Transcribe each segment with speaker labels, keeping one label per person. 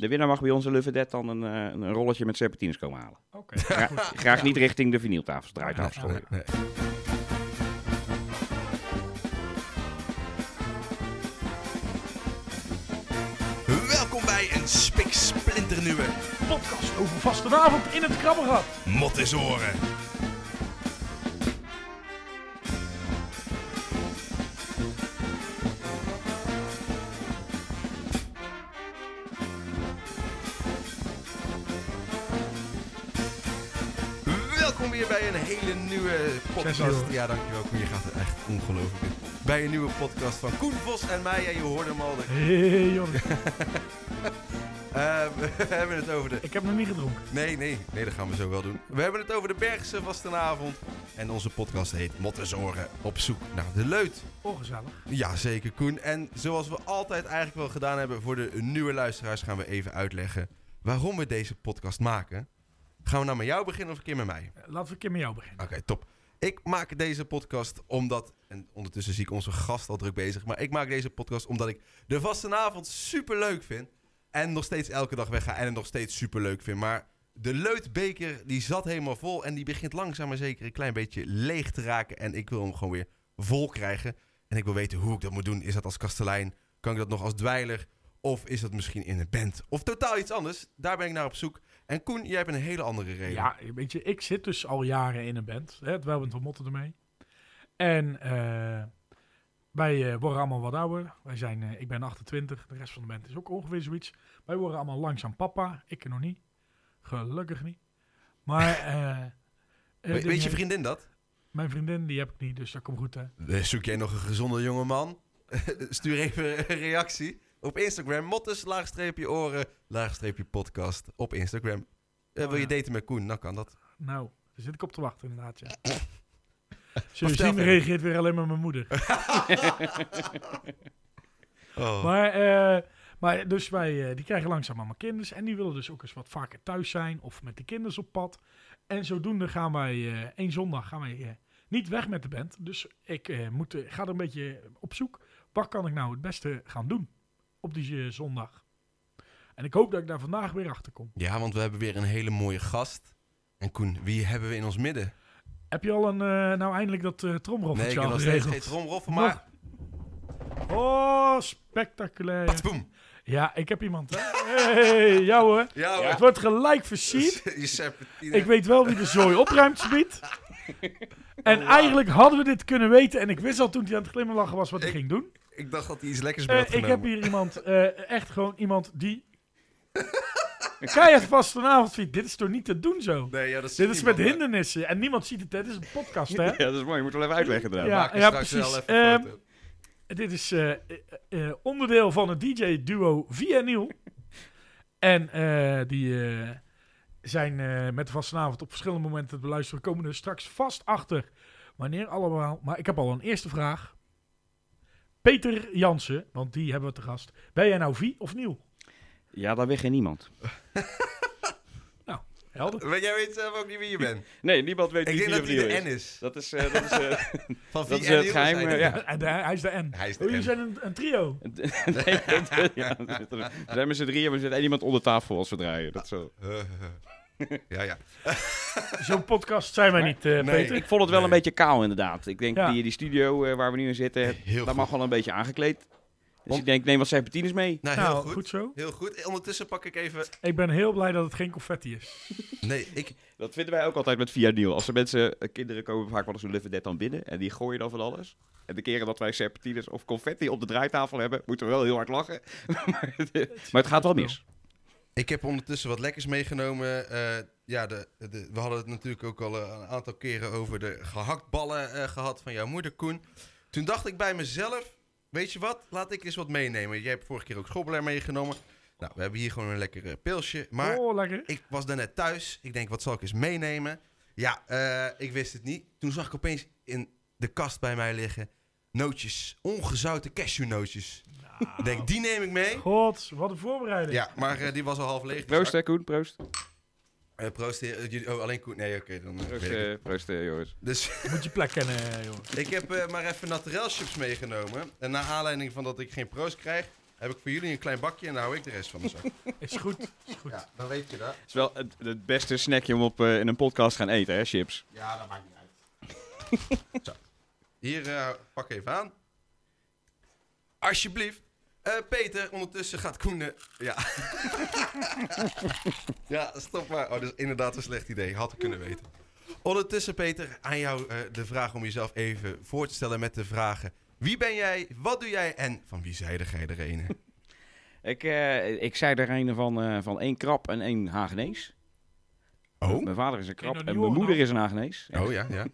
Speaker 1: De winnaar mag bij onze Love Dead dan een, eh, een rolletje met serpentines komen halen.
Speaker 2: Oké.
Speaker 1: Gra- graag niet richting de vinyltafels, draaitafels
Speaker 3: Nee,
Speaker 1: gooien.
Speaker 3: nee, nee.
Speaker 4: Welkom bij een spiksplinternieuwe
Speaker 2: Podcast over vastenavond in het krabbergat.
Speaker 4: Mot is Oren. Welkom weer bij een hele nieuwe podcast.
Speaker 3: dankjewel.
Speaker 4: Ja, dankjewel Koen, je gaat er echt ongelooflijk in. Bij een nieuwe podcast van Koen Vos en mij. En je hoorde hem al. de-
Speaker 2: Hey, Jan,
Speaker 4: Eh, we hebben het over de
Speaker 2: ik heb nog niet gedronken.
Speaker 4: Nee, nee, nee, dat gaan we zo wel doen. We hebben het over de Bergse vastenavond. En onze podcast heet Mottenzoren op zoek naar de leut.
Speaker 2: Ongezellig.
Speaker 4: Jazeker, Koen. En zoals we altijd eigenlijk wel gedaan hebben voor de nieuwe luisteraars, gaan we even uitleggen waarom we deze podcast maken. Gaan we nou met jou beginnen of een keer met mij?
Speaker 2: Eh, Laten we een keer met jou beginnen.
Speaker 4: Oké, top. Ik maak deze podcast omdat, en ondertussen zie ik onze gast al druk bezig, maar ik maak deze podcast omdat ik de vastenavond super leuk vind. En nog steeds elke dag wegga en het nog steeds super leuk vind. Maar de Leutbeker die zat helemaal vol en die begint langzaam maar zeker een klein beetje leeg te raken. En ik wil hem gewoon weer vol krijgen. En ik wil weten hoe ik dat moet doen. Is dat als kastelein? Kan ik dat nog als dweiler? Of is dat misschien in een band? Of totaal iets anders? Daar ben ik naar op zoek. En Koen, jij hebt een hele andere reden.
Speaker 2: Ja, weet je, ik zit dus al jaren in een band. Hè, het welbent van Motten ermee. En eh, wij eh, worden allemaal wat ouder. Wij zijn, eh, ik ben 28, de rest van de band is ook ongeveer zoiets. Wij worden allemaal langzaam papa. Ik nog niet. Gelukkig niet. Maar... eh, eh,
Speaker 4: We-
Speaker 2: de-
Speaker 4: weet je vriendin dat?
Speaker 2: Mijn vriendin, die heb ik niet, dus dat komt goed hè.
Speaker 4: Dus Zoek jij nog een gezonde jongeman? Stuur even een reactie op Instagram. Mottes, laagstreepje oren, laagstreepje podcast op Instagram. Eh, wil je
Speaker 1: Oh,
Speaker 4: daten met Koen? Dan kan dat.
Speaker 2: Nou, daar zit ik op te wachten inderdaad, ja.
Speaker 4: Vertel
Speaker 2: Zullen we zien,
Speaker 4: verder.
Speaker 2: reageert weer alleen maar mijn moeder.
Speaker 4: Oh.
Speaker 2: Maar, eh, maar dus wij, eh, die krijgen langzaam allemaal kinderen. En die willen dus ook eens wat vaker thuis zijn of met de kinderen op pad. En zodoende gaan wij, eh één zondag gaan wij eh, niet weg met de band. Dus ik eh, moet, eh, ga er een beetje op zoek. Wat kan ik nou het beste gaan doen op die eh, zondag? En ik hoop dat ik daar vandaag weer achter kom.
Speaker 4: Ja, want we hebben weer een hele mooie gast. En Koen, wie hebben we in ons midden?
Speaker 2: Heb je al een, eh, nou eindelijk dat eh
Speaker 4: nee, ik
Speaker 2: tromroffeltje
Speaker 4: heb
Speaker 2: al
Speaker 4: nog steeds
Speaker 2: geregeld?
Speaker 4: geen tromroffel, maar...
Speaker 2: Oh, spectaculair.
Speaker 4: Boom!
Speaker 2: Ja, ik heb iemand. Hè? Hey, jou hoor.
Speaker 4: Ja,
Speaker 2: Het
Speaker 4: hoor.
Speaker 2: wordt gelijk versierd.
Speaker 4: Je serpentine.
Speaker 2: Ik weet wel wie de zooi opruimt, biedt. En eigenlijk hadden we dit kunnen weten. En ik wist al toen hij aan het glimlachen was wat hij
Speaker 4: Ik-
Speaker 2: ging doen.
Speaker 4: Ik dacht dat hij iets lekkers
Speaker 2: Eh,
Speaker 4: mee had
Speaker 2: ik
Speaker 4: genomen.
Speaker 2: heb hier iemand, eh, echt gewoon iemand die... Keihard vast vanavond vindt. Dit is toch niet te doen zo?
Speaker 4: Nee, ja, dat ziet
Speaker 2: Dit is met
Speaker 4: niemand, hè?
Speaker 2: hindernissen. En niemand ziet het. hè. Dit is een podcast, hè?
Speaker 1: Ja, dat is mooi. Je moet wel even uitleggen eraan.
Speaker 2: Ja,
Speaker 4: Maak er
Speaker 2: ja,
Speaker 4: straks wel
Speaker 2: precies.
Speaker 4: even een
Speaker 2: Ehm,
Speaker 4: foto.
Speaker 2: Dit is eh, eh, eh, onderdeel van het DJ-duo Via Nieuw. en eh, die eh, zijn eh, met de vastenavond op verschillende momenten te beluisteren. We komen er straks vast achter wanneer allemaal. Maar ik heb al een eerste vraag. Peter Jansen, want die hebben we te gast. Ben jij nou Vie of Nieuw?
Speaker 1: Ja, daar weg geen niemand.
Speaker 2: Helder.
Speaker 4: Weet Jij weet zelf ook niet wie je bent.
Speaker 1: Nee, niemand weet
Speaker 4: Ik
Speaker 1: wie
Speaker 4: denk dat hij
Speaker 1: Viernieuw
Speaker 4: de
Speaker 1: is.
Speaker 4: N is.
Speaker 1: Dat is, eh, dat is, eh,
Speaker 4: Van
Speaker 1: Dat
Speaker 4: wie
Speaker 1: is
Speaker 4: en
Speaker 1: het
Speaker 4: Niels
Speaker 1: geheim,
Speaker 4: hij
Speaker 1: eh,
Speaker 4: de
Speaker 1: ja.
Speaker 4: N.
Speaker 2: En de- hij is de N.
Speaker 4: Hij is de
Speaker 2: Oh, jullie
Speaker 4: N.
Speaker 2: zijn een, een trio.
Speaker 1: nee, dat- ja, dat- we zijn met z'n drieën, maar er zit één iemand onder tafel als we draaien. Dat zo.
Speaker 4: ja, ja.
Speaker 2: Zo'n podcast zijn wij niet, eh,
Speaker 4: Nee.
Speaker 2: Peter.
Speaker 1: Ik vond het wel
Speaker 4: Nee.
Speaker 1: een beetje kaal inderdaad. Ik denk,
Speaker 2: Ja.
Speaker 1: die, die studio eh, waar we nu in zitten,
Speaker 4: Heel
Speaker 1: daar
Speaker 4: goed.
Speaker 1: mag wel een beetje aangekleed. Dus
Speaker 4: Om-
Speaker 1: ik denk, neem wat serpentines mee.
Speaker 4: Nou, heel
Speaker 2: nou,
Speaker 4: goed.
Speaker 2: goed zo.
Speaker 4: Heel goed. Ondertussen pak ik even...
Speaker 2: Ik ben heel blij dat het geen confetti is.
Speaker 4: Nee, ik...
Speaker 1: Dat vinden wij ook altijd met Via Nieuw. Als er mensen, eh, kinderen komen vaak wel eens een Live Dead dan binnen en die gooien dan van alles. En de keren dat wij serpentines of confetti op de draaitafel hebben, moeten we wel heel hard lachen. maar, het, eh, maar het gaat wel mis.
Speaker 4: Ik heb ondertussen wat lekkers meegenomen. Eh, ja, de, de, we hadden het natuurlijk ook al eh, een aantal keren over de gehaktballen eh, gehad van jouw moeder, Koen. Toen dacht ik bij mezelf, weet je wat, laat ik eens wat meenemen. Jij hebt vorige keer ook schobbelaar meegenomen. Nou, we hebben hier gewoon een lekker eh, pilsje. Maar
Speaker 2: Oh, lekker.
Speaker 4: ik was daarnet thuis. Ik denk, wat zal ik eens meenemen? Ja, eh, ik wist het niet. Toen zag ik opeens in de kast bij mij liggen nootjes. Ongezouten cashewnootjes.
Speaker 2: Ah.
Speaker 4: Ik
Speaker 1: Oh.
Speaker 4: denk, die neem ik mee.
Speaker 2: God, wat een voorbereiding.
Speaker 4: Ja, maar eh, die was al half leeg.
Speaker 1: Proost hè Koen, proost.
Speaker 4: Eh, proost, heer- eh, jullie- oh, alleen Koen. Nee, oké. dan eh,
Speaker 1: Proost,
Speaker 4: weet ik het.
Speaker 1: eh, proost eh, jongens.
Speaker 4: Dus
Speaker 2: Moet je plek kennen, eh, jongen.
Speaker 4: ik heb eh, maar even naturel chips meegenomen. En naar aanleiding van dat ik geen proost krijg, Heb ik voor jullie een klein bakje en daar hou ik de rest van de zak.
Speaker 2: Is goed. Is goed.
Speaker 3: Ja, dan weet je dat.
Speaker 1: Het is wel het, het beste snackje om op, eh, in een podcast te gaan eten, hè, chips.
Speaker 3: Ja, dat maakt niet uit.
Speaker 4: Hier, eh, pak even aan. Alsjeblieft. Eh, Peter, ondertussen gaat Koen... de- Ja. ja, stop maar. Oh, dat is inderdaad een slecht idee. Had ik kunnen weten. Ondertussen, Peter, aan jou eh, de vraag om jezelf even voor te stellen met de vragen. Wie ben jij? Wat doe jij? En van wie zijde jij er ene?
Speaker 1: Ik, eh, ik zei er een van, eh, van één krap en één Hagenees.
Speaker 4: Oh?
Speaker 1: Mijn vader is een krap
Speaker 2: dat
Speaker 1: en
Speaker 2: niet
Speaker 1: mijn
Speaker 2: horen,
Speaker 1: moeder is een Hagenees.
Speaker 4: Oh ja, ja.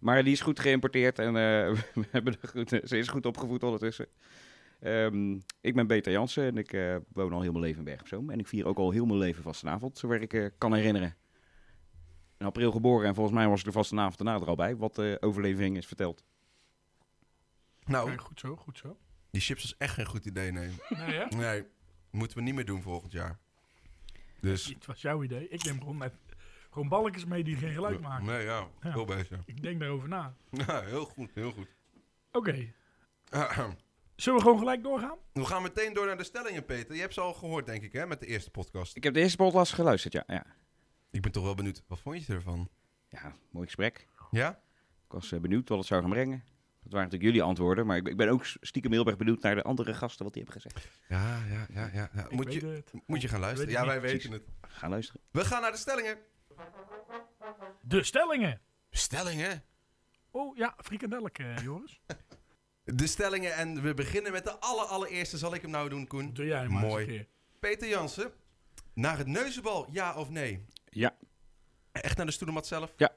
Speaker 1: Maar die is goed geïmporteerd en eh, we hebben er goed, ze is goed opgevoed ondertussen. Ehm, ik ben Peter Jansen en ik eh, woon al heel mijn leven in Bergen op Zoom. En ik vier ook al heel mijn leven vastenavond, zover ik eh, kan herinneren. In april geboren en volgens mij was ik er vastenavond daarna er al bij, wat de overleving is verteld.
Speaker 4: Nou,
Speaker 2: Oké, goed zo, goed zo.
Speaker 4: die chips was echt geen goed idee, nee.
Speaker 2: Nee, hè?
Speaker 4: Nee, moeten we niet meer doen volgend jaar. Dus...
Speaker 2: Het was jouw idee. Ik neem gewoon net gewoon balkjes mee die geen geluid maken.
Speaker 4: Nee, ja.
Speaker 2: Ja.
Speaker 4: Heel bezig.
Speaker 2: Ik denk daarover na.
Speaker 4: Ja, heel goed, heel goed.
Speaker 2: Oké. Zullen we gewoon gelijk doorgaan?
Speaker 4: We gaan meteen door naar de stellingen, Peter. Je hebt ze al gehoord, denk ik, hè, met de eerste podcast.
Speaker 1: Ik heb de eerste podcast geluisterd, ja. Ja,
Speaker 4: Ik ben toch wel benieuwd. Wat vond je ervan?
Speaker 1: ja mooi gesprek.
Speaker 4: Ja?
Speaker 1: Ik was eh, benieuwd wat het zou gaan brengen. Dat waren natuurlijk jullie antwoorden, maar ik, ik ben ook stiekem heel erg benieuwd naar de andere gasten wat die hebben gezegd.
Speaker 4: Ja, ja, ja, ja.
Speaker 2: Ik
Speaker 4: Moet,
Speaker 2: weet
Speaker 4: je,
Speaker 2: het.
Speaker 4: moet je gaan luisteren?
Speaker 2: Weet
Speaker 4: Ja,
Speaker 2: ik
Speaker 4: wij
Speaker 2: niet.
Speaker 4: weten het.
Speaker 1: Ga luisteren.
Speaker 4: We gaan naar de stellingen.
Speaker 2: De stellingen.
Speaker 4: Stellingen?
Speaker 2: Oh ja, frikandelk, eh, Joris.
Speaker 4: De stellingen en we beginnen met de aller, allereerste. Zal ik hem nou doen, Koen?
Speaker 2: Doe jij maar
Speaker 4: Mooi.
Speaker 2: eens een keer.
Speaker 4: Peter Jansen, naar het neuzenbal, ja of nee?
Speaker 1: Ja,
Speaker 4: Echt naar de stoelenmat zelf?
Speaker 1: Ja.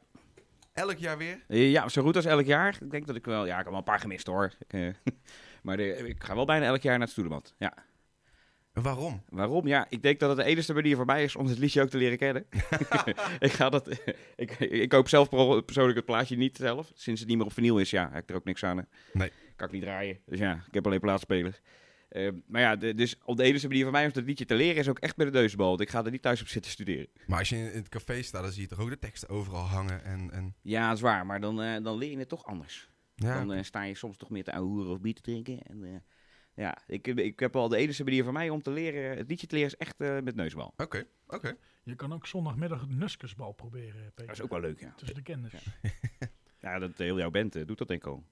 Speaker 4: Elk jaar weer?
Speaker 1: Eh, Ja, zo goed als elk jaar. Ik denk dat ik wel... Ja, ik heb wel een paar gemist hoor. Ik, eh, maar de- ik ga wel bijna elk jaar naar het Stoedemat. Ja.
Speaker 4: En Waarom?
Speaker 1: Waarom? Ja, ik denk dat het de enige manier voor mij is om het liedje ook te leren kennen. ik, ga dat, ik, ik koop zelf per- persoonlijk het plaatje niet zelf. Sinds het niet meer op vinyl is, ja, heb ik er ook niks aan. hè.
Speaker 4: Nee.
Speaker 1: Kan ik niet draaien. Dus ja, ik heb alleen plaatsspelers. Ehm, maar ja, de- dus op de enige manier voor mij om dat liedje te leren is ook echt met de neusbal. Want ik ga er niet thuis op zitten studeren.
Speaker 4: Maar als je in het café staat, dan zie je toch ook de teksten overal hangen en... en...
Speaker 1: Ja, dat is waar. Maar dan, eh, dan leer je het toch anders.
Speaker 4: Ja.
Speaker 1: Dan eh, sta je soms toch meer te ouwehoeren of bier te drinken. En, eh, ja, ik, ik heb al de enige manier voor mij om te leren, het liedje te leren, is echt eh, met neusbal.
Speaker 4: Oké, oké.
Speaker 2: Je kan ook zondagmiddag het Nuskersbal proberen, Peter.
Speaker 1: Dat is ook wel leuk, ja.
Speaker 2: Tussen de kennis.
Speaker 1: Ja, dat heel jouw band eh, doet dat denk ik al.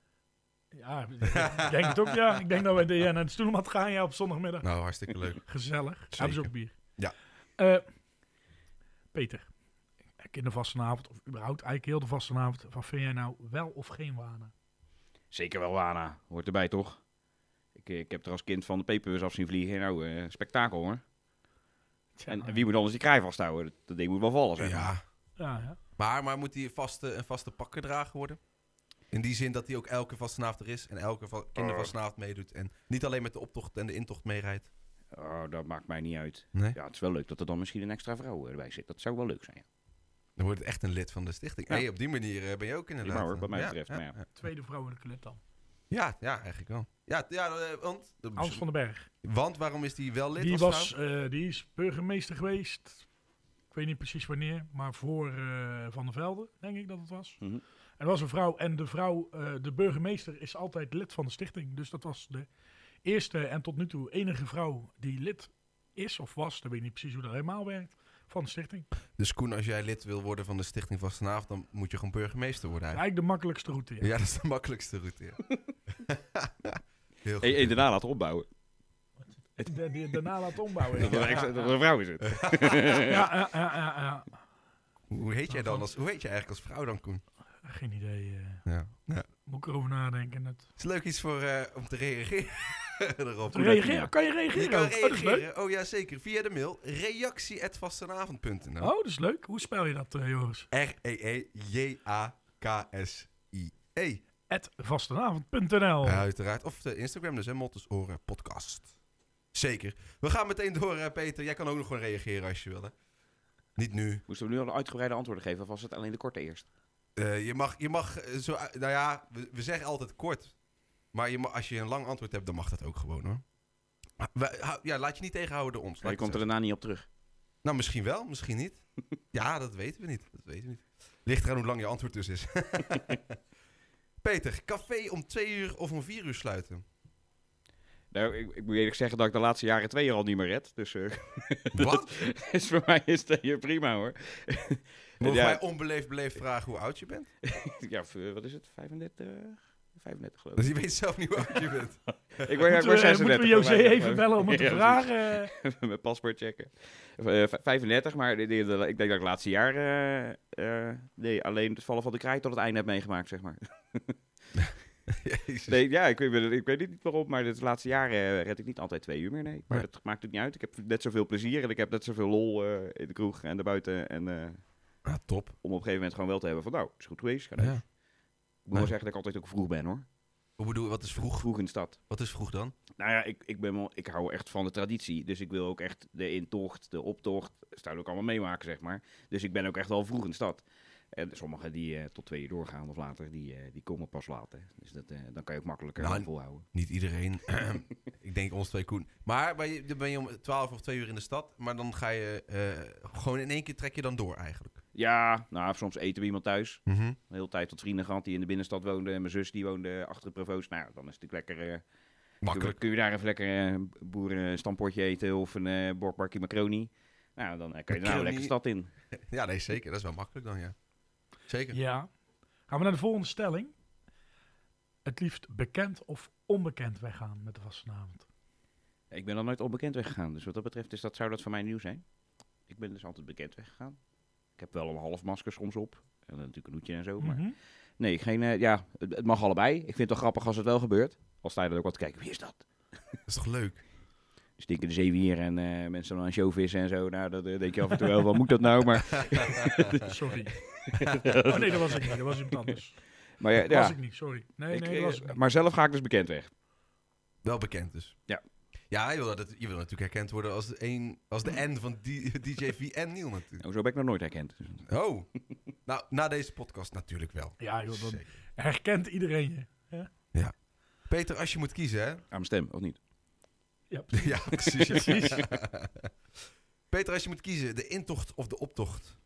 Speaker 2: Ja, ik denk het ook, ja. Ik denk dat wij de- ja, naar de stoelmat gaan ja, op zondagmiddag.
Speaker 4: Nou, hartstikke leuk.
Speaker 2: Gezellig. Hebben ze ook bier?
Speaker 4: Ja.
Speaker 2: Eh, Peter, kindervastenavond, of überhaupt eigenlijk heel de vastenavond, wat vind jij nou wel of geen wanen?
Speaker 1: Zeker wel Wana, hoort erbij toch? Ik, eh, ik heb er als kind van de peperbus af zien vliegen. Nou, eh, spektakel hoor.
Speaker 2: Tja,
Speaker 1: En, en wie moet anders die kraai vasthouden? Dat, dat ding moet wel vallen zeg.
Speaker 4: Ja,
Speaker 2: Ja, ja.
Speaker 4: maar, maar moet die vaste, een vaste pak gedragen worden? In die zin dat hij ook elke vastenavond er is en elke va kindervastenavond meedoet. En niet alleen met de optocht en de intocht meerijdt.
Speaker 1: Oh, dat maakt mij niet uit.
Speaker 4: Nee.
Speaker 1: Ja, het is wel leuk dat er dan misschien een extra vrouw eh, erbij zit. Dat zou wel leuk zijn. Ja,
Speaker 4: Dan wordt het echt een lid van de stichting.
Speaker 1: Ja.
Speaker 4: Hey, op die manier eh, ben je ook inderdaad.
Speaker 1: Prima, hoor, wat mij
Speaker 4: ja,
Speaker 1: betreft,
Speaker 4: Ja,
Speaker 1: maar ja.
Speaker 4: ja.
Speaker 2: Tweede vrouw in de club dan.
Speaker 4: Ja, ja, eigenlijk wel. Ja, t- ja eh, want,
Speaker 2: Hans van den Berg.
Speaker 4: want waarom is die wel lid?
Speaker 2: Die,
Speaker 4: als
Speaker 2: was,
Speaker 4: vrouw?
Speaker 2: eh, die is burgemeester geweest, ik weet niet precies wanneer, maar voor eh, Van der Velde, denk ik dat het was.
Speaker 1: Mhm.
Speaker 2: En dat was een vrouw en de vrouw, eh, de burgemeester is altijd lid van de stichting. Dus dat was de eerste en tot nu toe enige vrouw die lid is of was, dan weet ik niet precies hoe dat helemaal werkt, van de stichting.
Speaker 4: Dus Koen, als jij lid wil worden van de stichting vastenavond, dan moet je gewoon burgemeester worden eigenlijk.
Speaker 2: Eigenlijk de makkelijkste route. ja.
Speaker 4: Ja, dat is de makkelijkste route. ja. Heel goed.
Speaker 1: En, en daarna laten opbouwen.
Speaker 2: De- die- daarna laten ombouwen.
Speaker 1: Dat
Speaker 2: ja.
Speaker 1: er een extra- dat er een vrouw is het.
Speaker 2: Ja, ja, ja, ja, ja.
Speaker 4: Hoe heet jij dan als, hoe heet jij eigenlijk als vrouw dan, Koen?
Speaker 2: Geen idee. eh.
Speaker 4: Ja.
Speaker 2: moet ik erover nadenken. Het...
Speaker 4: Het is leuk iets voor, eh, om te reageren erop.
Speaker 2: Te reageren. Kan je reageren?
Speaker 4: Je kan
Speaker 2: ook? Oh, dat is leuk.
Speaker 4: reageren, oh ja zeker, via de mail reactie.vastenavond.nl
Speaker 2: Oh, dat is leuk. Hoe spel je dat, eh, Joris?
Speaker 4: E R-E-E-J-A-K-S-I-E.
Speaker 2: At vastenavond.nl.
Speaker 4: E. Ja, uiteraard. Of de Instagram, dus hè, Motters Oren Podcast. Zeker. We gaan meteen door, eh, Peter. Jij kan ook nog gewoon reageren als je wil. Hè. Niet nu.
Speaker 1: Moesten we nu al uitgebreide antwoorden geven of was het alleen de korte eerst?
Speaker 4: Eh, je mag, je mag eh, zo, uit- nou ja, we, we zeggen altijd kort. Maar je ma- als je een lang antwoord hebt, dan mag dat ook gewoon hoor. Maar we- hou- ja, laat je niet tegenhouden door ons.
Speaker 1: Hij
Speaker 4: laat ik
Speaker 1: komt er
Speaker 4: het zo
Speaker 1: daarna niet op terug.
Speaker 4: zeggen. Nou, misschien wel, misschien niet. ja, dat weten we niet. Dat weten we niet. Ligt eraan hoe lang je antwoord dus is. Peter, café om twee uur of om vier uur sluiten?
Speaker 1: Nou, ik, ik moet eerlijk zeggen dat ik de laatste jaren twee jaar al niet meer red. Dus eh,
Speaker 4: Wat?
Speaker 1: is voor mij is dat hier prima hoor.
Speaker 4: Mogen
Speaker 1: Ja.
Speaker 4: wij onbeleefd beleefd vragen hoe oud je bent?
Speaker 1: ja, v- wat is het? 35? 35 geloof ik.
Speaker 4: Dus je weet zelf niet hoe oud je bent.
Speaker 1: Ik word, ik
Speaker 2: Moeten
Speaker 1: word
Speaker 2: we, eh, moeten we
Speaker 1: 36.
Speaker 2: José
Speaker 1: geloof ik.
Speaker 2: even bellen om het te
Speaker 1: Ja,
Speaker 2: vragen? eh?
Speaker 1: precies. Mijn paspoort checken. Eh, v- 35, maar de- de- de- ik denk dat ik het laatste jaar eh, eh, nee, alleen het vallen van de kraai tot het einde heb meegemaakt, zeg maar.
Speaker 4: Jezus.
Speaker 1: Nee, ja, ik weet, ik weet niet waarom, maar het laatste jaar eh, red ik niet altijd twee uur meer, nee. Maar
Speaker 4: Nee.
Speaker 1: dat maakt het niet uit. Ik heb net zoveel plezier en ik heb net zoveel lol eh, in de kroeg en daarbuiten. En eh,
Speaker 4: Ah, top.
Speaker 1: om op een gegeven moment gewoon wel te hebben van, nou, is goed geweest. Ga naar-
Speaker 4: Ja.
Speaker 1: Ik moet wel zeggen dat ik altijd ook vroeg ben, hoor.
Speaker 4: Hoe bedoel je, wat is vroeg?
Speaker 1: Vroeg in de stad.
Speaker 4: Wat is vroeg dan?
Speaker 1: Nou ja, ik, ik, ben wel, ik hou echt van de traditie. Dus ik wil ook echt de intocht, de optocht, staan ook allemaal meemaken, zeg maar. Dus ik ben ook echt wel vroeg in de stad. En sommigen die eh, tot twee uur doorgaan of later, die, eh, die komen pas later. Dus dat, eh, dan kan je ook makkelijker
Speaker 4: Nou, en-
Speaker 1: volhouden.
Speaker 4: Niet iedereen. ik denk ons twee Koen. Maar ben je, dan ben je om 12 of 2 uur in de stad. Maar dan ga je eh, gewoon in één keer trek je dan door eigenlijk.
Speaker 1: Ja, nou, soms eten we iemand thuis.
Speaker 2: Mhm.
Speaker 1: Een hele tijd tot vrienden gehad die in de binnenstad woonden. En mijn zus die woonde achter de provoost. Nou, ja, dan is het natuurlijk lekker... eh,
Speaker 4: Makkelijk.
Speaker 1: Kun, kun je daar even lekker eh, een boerenstampotje eten of een eh bordbakje macaroni. Nou, dan eh, kan je daar nou
Speaker 4: Macaroni.
Speaker 1: lekker stad in.
Speaker 4: Ja, nee, zeker. Dat is wel makkelijk dan, ja. Zeker.
Speaker 2: Ja. Gaan we naar de volgende stelling. Het liefst bekend of onbekend weggaan met de vastenavond.
Speaker 1: Ik ben nog nooit onbekend weggegaan. Dus wat dat betreft is dat, zou dat voor mij nieuw zijn. Ik ben dus altijd bekend weggegaan. Ik heb wel een half masker soms op. En dan natuurlijk een hoedje en zo. Maar
Speaker 2: Mhm.
Speaker 1: nee, geen, eh, ja, het, het mag allebei. Ik vind het wel grappig als het wel gebeurt. Al sta je er ook wat te kijken. Wie is dat?
Speaker 4: Dat is toch leuk?
Speaker 1: Stinkende zeewier en eh, mensen dan aan showvissen en zo. Nou, dat eh, denk je af en toe wel. Wat moet dat nou? Maar,
Speaker 2: Sorry. oh nee, dat was ik niet. Dat was iemand anders.
Speaker 1: maar ja,
Speaker 2: Dat was
Speaker 1: ja.
Speaker 2: ik niet, sorry. Nee,
Speaker 1: Ik,
Speaker 2: nee, dat
Speaker 1: eh,
Speaker 2: was ik niet.
Speaker 1: maar zelf ga ik dus bekend weg.
Speaker 4: Wel bekend dus.
Speaker 1: Ja.
Speaker 4: Ja, je wil, dat, je wil natuurlijk herkend worden als de, een, als de N van die- DJ V en Neil natuurlijk.
Speaker 1: Nou, zo ben ik nog nooit herkend. Dus-
Speaker 4: Oh. nou, na deze podcast natuurlijk wel.
Speaker 2: Ja, joh, dan
Speaker 4: Zeker.
Speaker 2: herkent iedereen je.
Speaker 4: Peter, als je moet kiezen, hè?
Speaker 1: Aan mijn stem, of niet?
Speaker 2: Ja,
Speaker 4: ja, precies.
Speaker 2: precies.
Speaker 4: Peter, als je moet kiezen, de intocht of de optocht?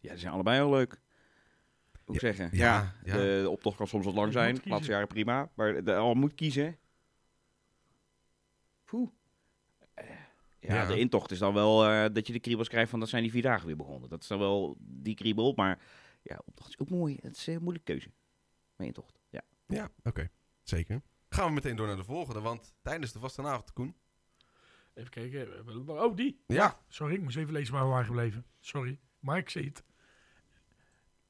Speaker 1: Ja, die zijn allebei heel leuk. Hoe ik zeggen?
Speaker 4: ja,
Speaker 1: Ja,
Speaker 4: ja.
Speaker 1: De, de optocht kan soms wat lang
Speaker 2: Je
Speaker 1: zijn.
Speaker 2: moet
Speaker 1: De
Speaker 2: kiezen.
Speaker 1: laatste jaren prima. Maar de, al moet kiezen. Poeh. Eh, ja,
Speaker 4: Ja.
Speaker 1: de intocht is dan wel eh, dat je de kriebels krijgt van dat zijn die vier dagen weer begonnen. Dat is dan wel die kriebel. Maar ja, optocht is ook mooi. Het is een moeilijke keuze. Mijn intocht. Ja.
Speaker 4: Ja, oké. Zeker. Gaan we meteen door naar de volgende, want tijdens de vastenavond, Koen.
Speaker 2: Even kijken. Oh, die.
Speaker 4: Ja.
Speaker 2: Sorry, ik moest even lezen waar we waren gebleven. Sorry, maar ik zie het.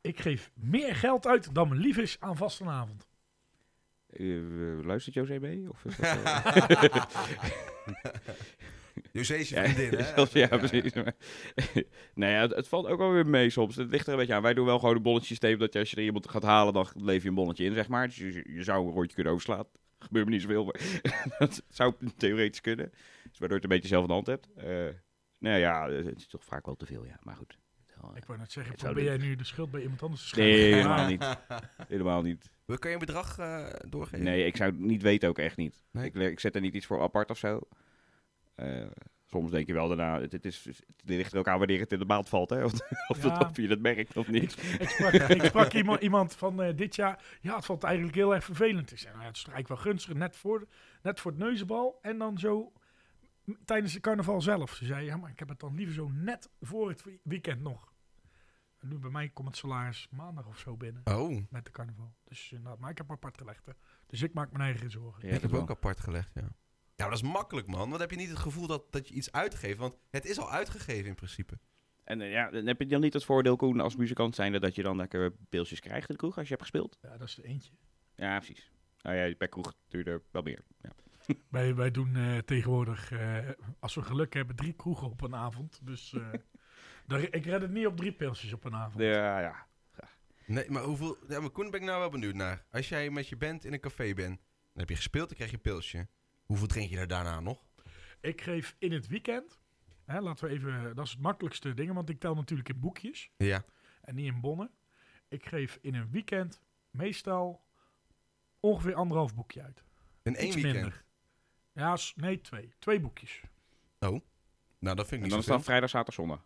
Speaker 2: Ik geef meer geld uit dan mijn lief is aan vastenavond.
Speaker 1: Eh, eh, luistert José mee? Of is dat, eh,
Speaker 4: José is je vriendin, hè?
Speaker 1: zelfs- ja, precies. Maar- nou ja, het, het valt ook wel weer mee soms. Het ligt er een beetje aan. Wij doen wel gewoon een bonnetjesysteem. Dat je, als je er iemand gaat halen, dan leef je een bonnetje in, zeg maar. Dus je, je zou een rondje kunnen overslaan. Gebeurt me niet zoveel, maar dat zou theoretisch kunnen. Dus waardoor je het een beetje zelf in de hand hebt. Eh nou ja, het is toch vaak wel te veel, ja. Maar goed. Wel, eh,
Speaker 2: Ik wou net zeggen,
Speaker 1: Het zou
Speaker 2: probeer jij nu de schuld bij iemand anders te schuiven?
Speaker 1: Nee,
Speaker 2: Maar-
Speaker 1: helemaal niet. Helemaal niet.
Speaker 4: We Kun je een bedrag eh, doorgeven?
Speaker 1: Nee, ik zou het niet weten ook echt niet.
Speaker 4: Nee?
Speaker 1: Ik, le- ik zet er niet iets voor apart of zo. Eh, soms denk je wel daarna, het, het is, het ligt er ook aan wanneer het in de maand valt, hè? Of, of, dat,
Speaker 2: Ja.
Speaker 1: of je dat merkt of
Speaker 2: Ik,
Speaker 1: niet.
Speaker 2: ik sprak, ik sprak iemand, iemand van eh, dit jaar. Ja, het valt eigenlijk heel erg vervelend. Ik zei, nou, ja, het is toch eigenlijk wel gunstig. Net voor, net voor het neuzenbal. En dan zo m- tijdens de carnaval zelf. Ze zei, ja, maar ik heb het dan liever zo net voor het wie- weekend nog. En nu bij mij komt het salaris maandag of zo binnen.
Speaker 4: Oh,
Speaker 2: Met de carnaval. Dus inderdaad, maar ik heb apart gelegd. hè. Dus ik maak mijn eigen zorgen.
Speaker 1: Ja,
Speaker 4: ik
Speaker 1: dat
Speaker 4: heb
Speaker 1: wel.
Speaker 4: ook apart gelegd, ja. Ja, maar dat is makkelijk, man. Want dan heb je niet het gevoel dat, dat je iets uitgeeft. Want het is al uitgegeven in principe.
Speaker 1: En eh, ja, dan heb je dan niet het voordeel, Koen, als muzikant zijnde, dat je dan lekker beeldjes krijgt in de kroeg als je hebt gespeeld?
Speaker 2: Ja, dat is de eentje.
Speaker 1: Ja, precies. Nou ja, per kroeg duurde er wel meer. Ja.
Speaker 2: Wij, wij doen eh, tegenwoordig, eh, als we geluk hebben, drie kroegen op een avond. Dus eh, daar, ik red het niet op drie pilsjes op een avond.
Speaker 1: Ja, ja.
Speaker 4: Nee, maar hoeveel... Ja, maar Koen, ben ik nou wel benieuwd naar. Als jij met je band in een café bent, dan heb je gespeeld, dan krijg je een pilsje. Hoeveel drink je daar daarna nog?
Speaker 2: Ik geef in het weekend. Hè, laten we even, dat is het makkelijkste ding, want ik tel natuurlijk in boekjes
Speaker 4: Ja.
Speaker 2: en niet in bonnen. Ik geef in een weekend meestal ongeveer anderhalf boekje uit.
Speaker 4: In één
Speaker 2: Iets
Speaker 4: weekend.
Speaker 2: minder. Ja, s- nee, twee. Twee boekjes.
Speaker 4: Nou, dat vind
Speaker 1: En
Speaker 4: ik
Speaker 1: dan
Speaker 4: niet
Speaker 1: is
Speaker 4: zo
Speaker 1: dat vrijdag, zaterdag, zondag.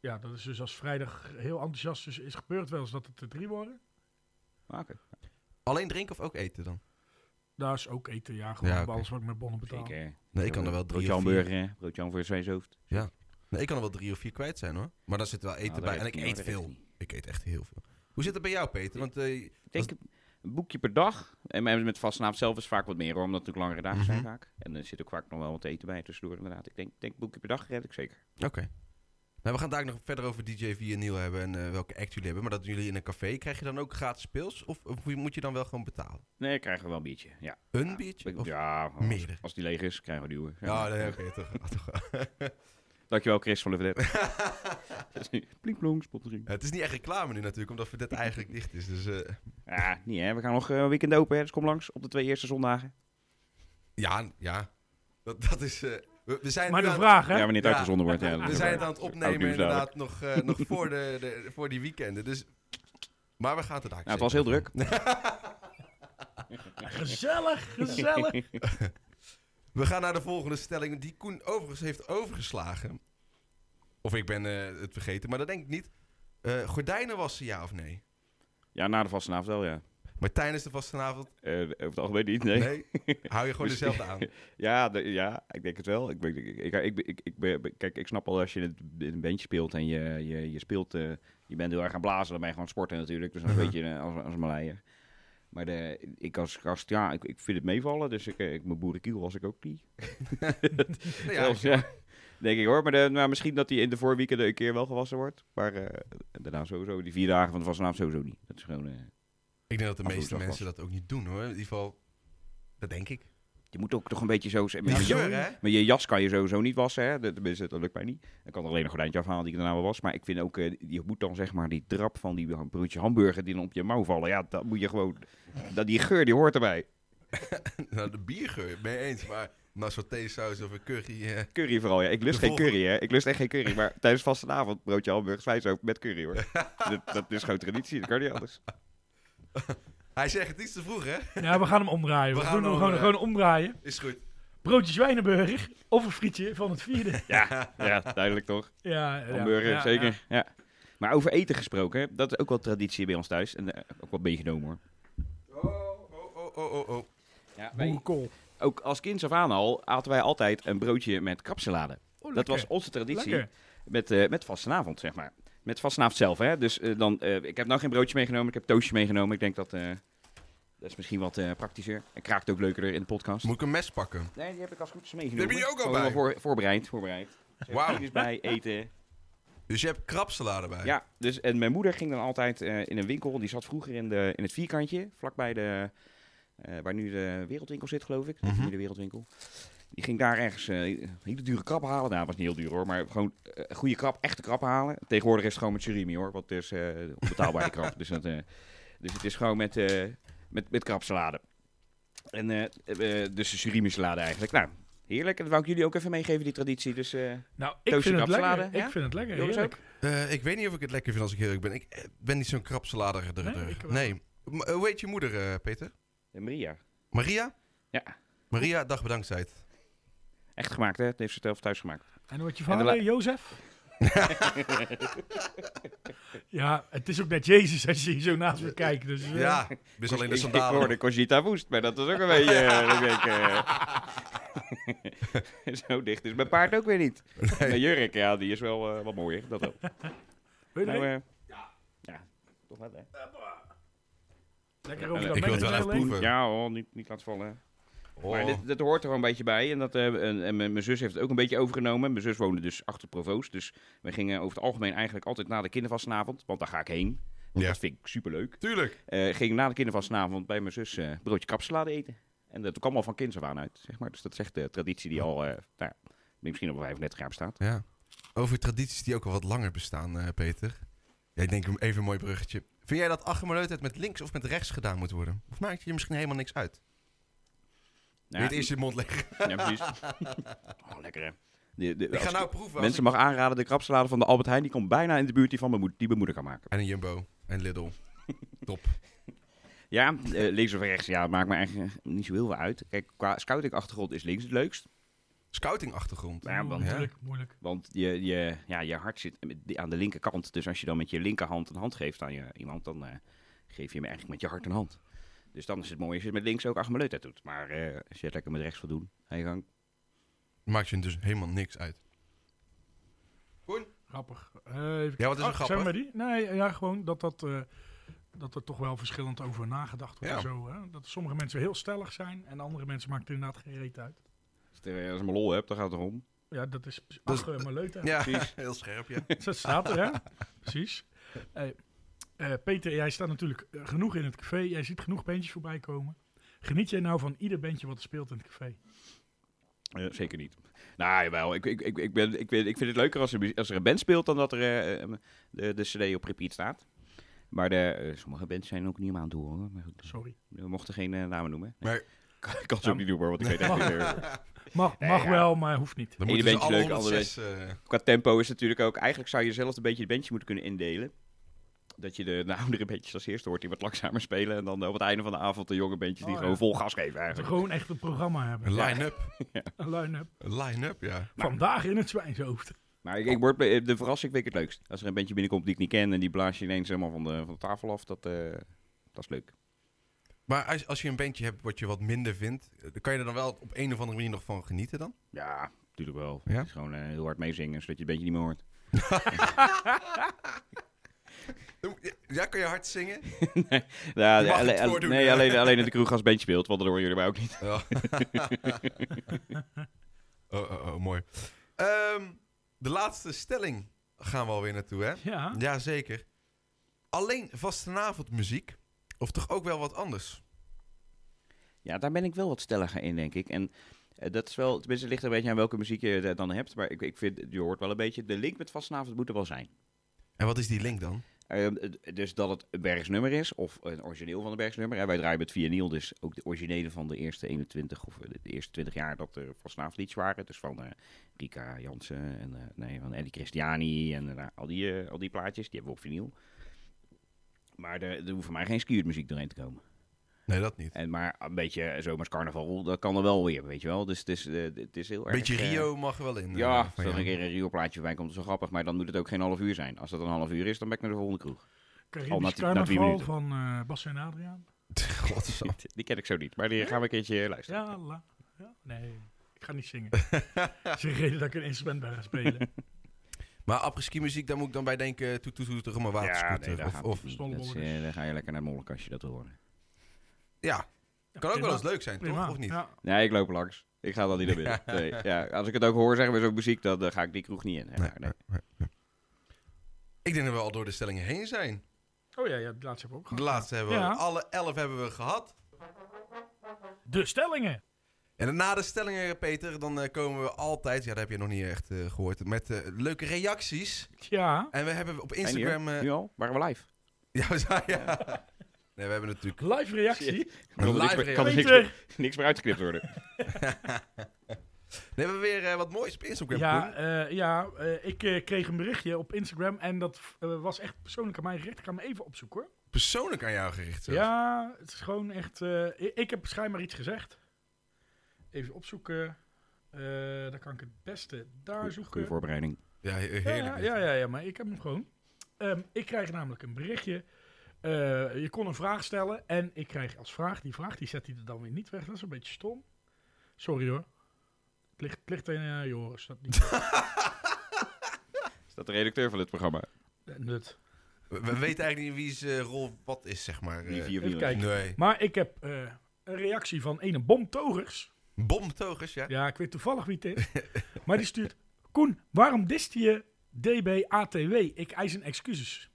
Speaker 2: Ja, dat is dus als vrijdag heel enthousiast is, is gebeurd wel eens dat het er drie worden.
Speaker 1: Ah, oké.
Speaker 4: Alleen drinken of ook eten dan?
Speaker 2: Daar is ook eten, ja. Gewoon
Speaker 4: Ja,
Speaker 2: bij
Speaker 4: oké.
Speaker 2: alles wat ik met bonnen betaal.
Speaker 1: Zeker.
Speaker 4: Nee, ik kan er wel drie
Speaker 1: Broodje
Speaker 4: of vier.
Speaker 1: hamburger, hè? broodje hamburger, zwijnshoofd.
Speaker 4: Nee, ik kan er wel drie of vier kwijt zijn hoor. Maar daar zit wel
Speaker 1: Nou,
Speaker 4: eten bij. En ik eet veel. Ik eet echt heel veel. Hoe zit het bij jou, Peter? Want eh,
Speaker 1: Ik denk een boekje per dag. En met met vastenavond zelf is vaak wat meer hoor, omdat het natuurlijk langere dagen zijn
Speaker 4: Mhm.
Speaker 1: vaak. En er zit ook vaak nog wel wat eten bij tussendoor inderdaad. Ik denk, denk boekje per dag red ik zeker.
Speaker 4: Oké. Nou, we gaan daar nog verder over DJ V en Neil hebben en eh, welke act jullie hebben. Maar dat doen jullie in een café. Krijg je dan ook gratis speels? Of, of moet je dan wel gewoon betalen?
Speaker 1: Nee, krijgen we wel een biertje. Ja,
Speaker 4: Een
Speaker 1: Ja,
Speaker 4: biertje?
Speaker 1: ik-
Speaker 4: Of?
Speaker 1: ja als,
Speaker 4: meerdere?
Speaker 1: als die leeg is, krijgen we die hoor.
Speaker 4: Ja, nee, oké, toch. toch.
Speaker 1: Dankjewel Chris van de Verdet. Dat is nu Plink plong, sponsoring.
Speaker 4: het is niet echt reclame nu natuurlijk, omdat Verdet eigenlijk dicht is. Dus eh,
Speaker 1: Ja, niet hè. We gaan nog eh, weekend open, hè. dus kom langs op de twee eerste zondagen.
Speaker 4: ja, ja. Dat, dat is... eh, we, we zijn
Speaker 2: Maar
Speaker 4: nu
Speaker 2: de
Speaker 4: aan-
Speaker 2: vraag, hè?
Speaker 1: Ja, wanneer het
Speaker 4: Ja.
Speaker 1: uitgezonden wordt. Ja, dat
Speaker 4: We
Speaker 1: is
Speaker 4: zijn
Speaker 1: ook
Speaker 4: het
Speaker 1: waar.
Speaker 4: aan het
Speaker 1: Oud
Speaker 4: opnemen
Speaker 1: nieuws dadelijk.
Speaker 4: inderdaad nog, eh, nog voor, de, de- voor die weekenden. Dus, maar we gaan het er daar
Speaker 1: Nou, het was heel druk.
Speaker 2: Gezellig, gezellig.
Speaker 4: We gaan naar de volgende stelling, die Koen overigens heeft overgeslagen. Of ik ben eh, het vergeten, maar dat denk ik niet. Eh, gordijnen wassen, ja of nee?
Speaker 1: Ja, na de vastenavond wel, ja.
Speaker 4: Maar tijdens de vastenavond,
Speaker 1: Eh, over het algemeen niet, nee.
Speaker 4: nee. Hou je gewoon
Speaker 1: Misschien-
Speaker 4: dezelfde aan. Nou
Speaker 1: Ja, de- ja, ik denk het wel. Ik, ben- ik, ik, ik, ik, ik ben- kijk, ik snap al als je in het- in een bandje speelt en je, je, je speelt... eh, je bent heel erg aan blazen, dan ben je gewoon sporten natuurlijk. Dus dan
Speaker 4: Mhm.
Speaker 1: weet je eh, als, als een Maleier. Maar de, ik als gast, ja, ik, ik vind het meevallen. Dus ik, eh, ik, mijn boerenkiel was ik ook niet.
Speaker 4: Nou ja,
Speaker 1: Ja, ja. Denk ik hoor. Maar, de, maar misschien dat hij in de voorweekenden een keer wel gewassen wordt. Maar eh, daarna sowieso. Die vier dagen van de vastenavond sowieso niet. Dat is gewoon... eh,
Speaker 4: ik denk dat de
Speaker 1: Afvoer-
Speaker 4: meeste
Speaker 1: afwas.
Speaker 4: mensen dat ook niet doen hoor. In ieder geval, dat denk ik.
Speaker 1: je moet ook toch een beetje zo... zijn.
Speaker 4: Die
Speaker 1: Met, je-
Speaker 4: geur, hè?
Speaker 1: met je jas kan je sowieso niet wassen. Hè? Dat- Tenminste, dat lukt mij niet. Ik kan alleen een gordijntje afhalen die ik daarna wel was. Maar ik vind ook... eh, je moet dan zeg maar die drap van die ham- broodje hamburger die dan op je mouw vallen. Ja, dat moet je gewoon... Dat, die geur, die hoort erbij.
Speaker 4: Nou, de biergeur, mee eens. Maar na saus of een curry... eh,
Speaker 1: Curry vooral, ja. Ik lust
Speaker 4: De
Speaker 1: geen
Speaker 4: volgende-
Speaker 1: curry, hè. Ik lust echt geen curry. Maar tijdens vastenavond broodje hamburger, zwijshoofd met curry, hoor. dat, dat is gewoon traditie. Dat kan niet anders.
Speaker 4: Hij zegt het iets te vroeg hè?
Speaker 2: Ja, we gaan hem omdraaien.
Speaker 4: We
Speaker 2: We,
Speaker 4: gaan
Speaker 2: doen
Speaker 4: hem
Speaker 2: hem gewoon,
Speaker 4: omdraaien.
Speaker 2: gewoon omdraaien.
Speaker 4: Is goed.
Speaker 2: Broodje Zwijnenburger of een frietje van het vierde.
Speaker 1: Ja, ja, duidelijk toch.
Speaker 2: Ja, ja,
Speaker 1: Hamburger,
Speaker 2: ja, ja.
Speaker 1: zeker. Ja. Maar over eten gesproken, hè, dat is ook wel traditie bij ons thuis. En eh, ook wel meegenomen hoor.
Speaker 4: Oh, oh, oh, oh, oh, oh.
Speaker 1: Ja,
Speaker 2: Boerenkool.
Speaker 1: ook als kind af aan al aten wij altijd een broodje met kapsalade.
Speaker 4: Oh,
Speaker 1: dat
Speaker 4: lekker.
Speaker 1: was onze traditie
Speaker 2: Lekker.
Speaker 1: met, eh met vastenavond, zeg maar. Met vastenavond zelf, hè. Dus eh, dan, eh, ik heb nou geen broodje meegenomen, ik heb toastje meegenomen. Ik denk dat, eh, dat is misschien wat eh, praktischer. En kraakt ook leukerder in de podcast.
Speaker 4: Moet ik een mes pakken?
Speaker 1: Nee, die heb ik als goed is meegenomen.
Speaker 4: Heb je die ook al
Speaker 1: Gewoon
Speaker 4: bij?
Speaker 1: Voor, voorbereid, voorbereid.
Speaker 4: Wauw.
Speaker 1: Wow. bij, eten.
Speaker 4: Dus je hebt krapsalade bij?
Speaker 1: Ja, dus en mijn moeder ging dan altijd eh, in een winkel. Die zat vroeger in, de, in het vierkantje, vlakbij de, eh, waar nu de wereldwinkel zit, geloof ik.
Speaker 4: Mhm.
Speaker 1: Nu de wereldwinkel. Die ging daar ergens eh hele dure krab halen. Nou, was niet heel duur hoor, maar gewoon eh, goede krab, echte krab halen. Tegenwoordig is het gewoon met surimi hoor, want het is eh, onbetaalbare krab. Dus, dat, eh, dus het is gewoon met, eh met, met krabsalade. En eh, eh, dus de surimi salade eigenlijk. Nou, heerlijk. En dat wou ik jullie ook even meegeven, die traditie. Dus eh,
Speaker 2: Nou, ik
Speaker 1: Toastje
Speaker 2: vind het lekker.
Speaker 1: kapsalade, ja?
Speaker 2: Ik vind het lekker.
Speaker 1: Joris ook?
Speaker 2: heerlijk.
Speaker 4: Eh, ik weet niet of ik het lekker vind als ik eerlijk ben. Ik eh, ben niet zo'n
Speaker 2: Nee,
Speaker 4: krapsaladiger.
Speaker 2: ik wel.
Speaker 4: nee. M- eh, hoe heet je moeder, eh, Peter?
Speaker 1: en Maria.
Speaker 4: Maria?
Speaker 1: Ja.
Speaker 4: Maria, dag bedankzijd.
Speaker 1: Echt gemaakt hè? Het heeft ze zelf thuis gemaakt.
Speaker 2: En wat je
Speaker 1: En de
Speaker 2: vader, Jozef? ja, het is ook net Jezus als je hier zo naast me kijkt. Dus, eh,
Speaker 4: Ja, mis alleen de
Speaker 1: ik, ik
Speaker 4: sandalen.
Speaker 1: hoorde Cogita Woest, maar dat was ook een beetje... eh, dat ik denk, eh, zo dicht is mijn paard ook weer niet. Mijn jurk, ja, die is wel eh, wat mooier, dat wel.
Speaker 2: weet je
Speaker 1: Nou,
Speaker 2: wel?
Speaker 1: eh, ja, toch wat, hè?
Speaker 2: lekker over
Speaker 1: ik
Speaker 2: dat
Speaker 1: wil
Speaker 4: Eh, het wel
Speaker 2: mengetje
Speaker 4: even
Speaker 2: alleen.
Speaker 4: proeven.
Speaker 1: Ja, hoor, niet, niet laten vallen.
Speaker 4: Oh.
Speaker 1: Maar dit, dat hoort er gewoon een beetje bij. En, dat, eh, en, en mijn mijn zus heeft het ook een beetje overgenomen. Mijn zus woonde dus achter Provoost. Dus we gingen over het algemeen eigenlijk altijd na de kindervastenavond. Want daar ga ik heen. Want
Speaker 4: Ja.
Speaker 1: dat vind ik superleuk.
Speaker 4: Tuurlijk.
Speaker 1: Eh ging na de kindervastenavond bij mijn zus eh, broodje kapsalade eten. En dat kwam al van kinds af aan uit, zeg maar. Dus dat is echt de traditie die al, eh, nou, ja, die misschien al 35 jaar bestaat.
Speaker 4: Ja. Over tradities die ook al wat langer bestaan, eh, Peter. Ja, ik denk even een mooi bruggetje. Vind jij dat achtermaleutheid met links of met rechts gedaan moet worden? Of maakt het je misschien helemaal niks uit? Weet
Speaker 1: Ja,
Speaker 4: je eerst je mond leggen?
Speaker 1: ja, precies. oh, lekker hè. De, de,
Speaker 4: Ik ga
Speaker 1: als-
Speaker 4: nou proeven. als
Speaker 1: mensen mag aanraden, de krapsalade van de Albert Heijn, die komt bijna in de buurt die, van mijn, moed- die mijn moeder kan maken.
Speaker 4: ik- En een Jumbo. En Lidl.
Speaker 1: Ja, eh, links of rechts, ja, maakt me eigenlijk eh, niet zo heel veel uit. Kijk, qua scouting-achtergrond is links het leukst.
Speaker 4: Scouting achtergrond.
Speaker 2: Mm,
Speaker 1: Ja, want
Speaker 2: moeilijk, moeilijk.
Speaker 1: Want je, je, ja, je hart zit met die- aan de linkerkant. Dus als je dan met je linkerhand een hand geeft aan je, iemand, dan eh, geef je hem eigenlijk met je hart een hand. Dus dan is het mooi als je met links ook Achmeleut uit doet. Maar eh, als je het lekker met rechts wil doen, ga je gang.
Speaker 4: Maakt je dus helemaal niks uit.
Speaker 2: Grappig. Eh, even
Speaker 4: Ja, wat is er
Speaker 2: kijken. Oh,
Speaker 4: grappig?
Speaker 2: Zeg maar die? Nee, ja, gewoon dat, dat, eh, dat er toch wel verschillend over nagedacht wordt.
Speaker 4: Ja.
Speaker 2: en Zo, hè? Dat sommige mensen heel stellig zijn en andere mensen maakt het inderdaad geen reet uit.
Speaker 1: Als je er- eh, als je maar lol hebt, dan gaat het erom.
Speaker 2: Ja, dat is
Speaker 4: Dat is-
Speaker 2: ach, eh, maar leuk. hè?
Speaker 4: Ja,
Speaker 1: Precies.
Speaker 4: heel scherp, ja.
Speaker 2: Dat staat er, hè? Precies. Hey, eh, Peter, jij staat natuurlijk eh, genoeg in het café. Jij ziet genoeg bandjes voorbij komen. Geniet jij nou van ieder bandje wat er speelt in het café?
Speaker 1: Eh, zeker niet. Nou, jawel. Ik, ik, ik, ik, ben, ik, ben, ik vind het leuker als er, mu- als er een band speelt dan dat er eh, eh, de, de cd op repeat staat. Maar de, eh, sommige bands zijn ook niet om aan te horen. Maar goed, dus
Speaker 2: Sorry.
Speaker 1: we mochten geen eh, namen noemen.
Speaker 4: Maar
Speaker 1: Kan, kan ze ook niet doen hoor, want ik weet echt niet meer.
Speaker 2: Mag,
Speaker 1: Nee,
Speaker 2: mag
Speaker 1: ja.
Speaker 2: wel, maar hoeft niet.
Speaker 4: dan
Speaker 1: Ene
Speaker 4: moeten ze
Speaker 1: bandje
Speaker 4: alle
Speaker 1: leuk,
Speaker 4: 106... eh,
Speaker 1: Qua tempo is natuurlijk ook... Eigenlijk zou je zelf een beetje het bandje moeten kunnen indelen. Dat je de, de oudere bandjes als eerste hoort die wat langzamer spelen. En dan eh, op het einde van de avond de jonge bandjes die
Speaker 2: Oh, ja.
Speaker 1: gewoon vol gas geven
Speaker 2: Dat we
Speaker 1: eigenlijk.
Speaker 2: gewoon echt een programma hebben.
Speaker 4: Een line-up.
Speaker 2: Een line-up.
Speaker 4: Een line-up, ja.
Speaker 2: Vandaag in het zwijnhoofd.
Speaker 1: Maar ik, ik word, bij- de verrassing vind ik het leukst. Als er een bandje binnenkomt die ik niet ken en die blaas je ineens helemaal van de, van de tafel af, dat, eh, dat is leuk.
Speaker 4: Maar als, als je een bandje hebt wat je wat minder vindt, eh, kan je er dan wel op een of andere manier nog van genieten dan?
Speaker 1: Ja, natuurlijk wel.
Speaker 4: Ja?
Speaker 1: Het is gewoon eh, heel hard meezingen, zodat je het bandje niet meer hoort.
Speaker 4: Ja, kan je hard zingen?
Speaker 1: Ja,
Speaker 4: Je mag
Speaker 1: alle-
Speaker 4: het
Speaker 1: alle-
Speaker 4: voordoen,
Speaker 1: nee,
Speaker 4: hè?
Speaker 1: alleen, alleen in de kroeg als het bandje speelt, want dan horen jullie mij ook niet.
Speaker 4: Oh, oh, oh, oh, mooi. Ehm, de laatste stelling gaan we alweer naartoe, hè?
Speaker 2: Ja.
Speaker 4: Jazeker. Alleen vastenavondmuziek, of toch ook wel wat anders?
Speaker 1: Ja, daar ben ik wel wat stelliger in, denk ik. En eh, dat is wel, tenminste, het ligt er een beetje aan welke muziek je eh, dan hebt. Maar ik, ik vind, je hoort wel een beetje, de link met vastenavond moet er wel zijn.
Speaker 4: En wat is die link dan?
Speaker 1: Ehm, d- dus dat het een Bergsnummer is, of een origineel van een Bergsnummer. Hè, wij draaien met Vinyl, dus ook de originelen van de eerste 21 of eh, de eerste 20 jaar dat er vanavond iets waren. Dus van eh, Rika Jansen en eh, nee, van Eddie Christiani en eh, nou, al, die, eh, al die plaatjes, die hebben we op vinyl. Maar er, er hoeft voor mij geen skewed muziek doorheen te komen.
Speaker 4: Nee, dat niet.
Speaker 1: En maar een beetje eh, zomers carnaval, dat kan er wel weer, weet je wel. Dus het is, eh, het is heel erg...
Speaker 4: Beetje
Speaker 1: eh,
Speaker 4: Rio mag er wel in. eh,
Speaker 1: ja,
Speaker 4: van
Speaker 1: als er een
Speaker 4: jou.
Speaker 1: keer een Rio-plaatje bij komt, is wel grappig. Maar dan moet het ook geen half uur zijn. Als dat een half uur is, dan ben ik naar de volgende kroeg. Al na
Speaker 2: Caribisch
Speaker 1: die- na die
Speaker 2: carnaval
Speaker 1: minuten.
Speaker 2: van eh Bas en Adriaan.
Speaker 4: Godzo.
Speaker 1: Die ken ik zo niet, maar die gaan we een keertje luisteren.
Speaker 2: Ja, la. Ja, nee, ik ga niet zingen. Dat is de reden dat ik een instrument ben gaan spelen.
Speaker 4: Maar apres-ski muziek, daar moet ik dan bij denken, toet toet toet, om een waterscooter.
Speaker 1: daar
Speaker 4: of,
Speaker 1: gaat
Speaker 4: of,
Speaker 1: het niet. Dat is, eh, dan ga je lekker naar het molk als je dat wil horen.
Speaker 4: ja,
Speaker 2: Ja,
Speaker 4: kan ook wel
Speaker 2: prima.
Speaker 4: eens leuk zijn, toch?
Speaker 2: Prima.
Speaker 4: Of niet?
Speaker 2: Ja.
Speaker 1: Nee, ik loop langs. Ik ga dan niet naar binnen. Nee, ja, als ik het ook hoor, zeggen we zo'n muziek, dan, eh, ga ik die kroeg niet in. Ja,
Speaker 4: Nee,
Speaker 1: nee.
Speaker 4: nee, nee. Ik denk dat we al door de stellingen heen zijn.
Speaker 2: Oh ja, ja, de laatste heb ik ook
Speaker 4: De
Speaker 2: gehad.
Speaker 4: laatste hebben we,
Speaker 2: Ja.
Speaker 4: alle elf hebben we gehad.
Speaker 2: De stellingen.
Speaker 4: En na de stellingen, Peter, dan eh, komen we altijd, ja, dat heb je nog niet echt eh, gehoord, met eh, leuke reacties.
Speaker 2: Ja,
Speaker 4: En we hebben op
Speaker 1: Zijn die er?
Speaker 4: Instagram... eh,
Speaker 1: Nu al? Waren we live?
Speaker 4: ja, we zijn- ja. Nee, we hebben natuurlijk...
Speaker 2: live reactie.
Speaker 1: Kan er
Speaker 4: live
Speaker 1: niks meer- kan er niks
Speaker 2: Peter.
Speaker 1: meer- niks meer uitgeknipt worden.
Speaker 4: Nee, we hebben weer eh, wat moois op Instagram.
Speaker 2: Ja,
Speaker 4: Koen.
Speaker 2: eh, ja eh, ik eh, kreeg een berichtje op Instagram en dat eh, was echt persoonlijk aan mij gericht. Ik ga hem even opzoeken hoor.
Speaker 4: Persoonlijk aan jou gericht zelfs.
Speaker 2: Ja, het is gewoon echt... eh, i- ik, heb schijnbaar iets gezegd. Even opzoeken. Eh dan kan ik het beste daar
Speaker 1: Goeie,
Speaker 2: zoeken.
Speaker 1: goeie voorbereiding.
Speaker 4: Ja, he-
Speaker 2: Ja,
Speaker 4: heerlijk.
Speaker 2: Ja, ja, ja, ja, maar ik heb hem gewoon. Ehm, ik krijg namelijk een berichtje. Eh, je kon een vraag stellen en ik krijg als vraag, die vraag die zet hij er dan weer niet weg. Dat is een beetje stom. Sorry hoor. Het ligt, het ligt in eh, je oren, is dat niet
Speaker 1: Is dat de redacteur van dit programma?
Speaker 2: eh, nut.
Speaker 4: We, we weten eigenlijk niet wie zijn rol wat is, zeg maar.
Speaker 1: Die
Speaker 4: eh.
Speaker 1: vier
Speaker 2: even
Speaker 1: wielen.
Speaker 2: kijken.
Speaker 4: nee.
Speaker 2: Maar ik heb eh, een reactie van ene Bom Togers.
Speaker 4: Bomtogers, ja.
Speaker 2: Ja, ik weet toevallig wie het is. maar die stuurt, Koen, waarom dist je DBATW? Ik eis een excuses.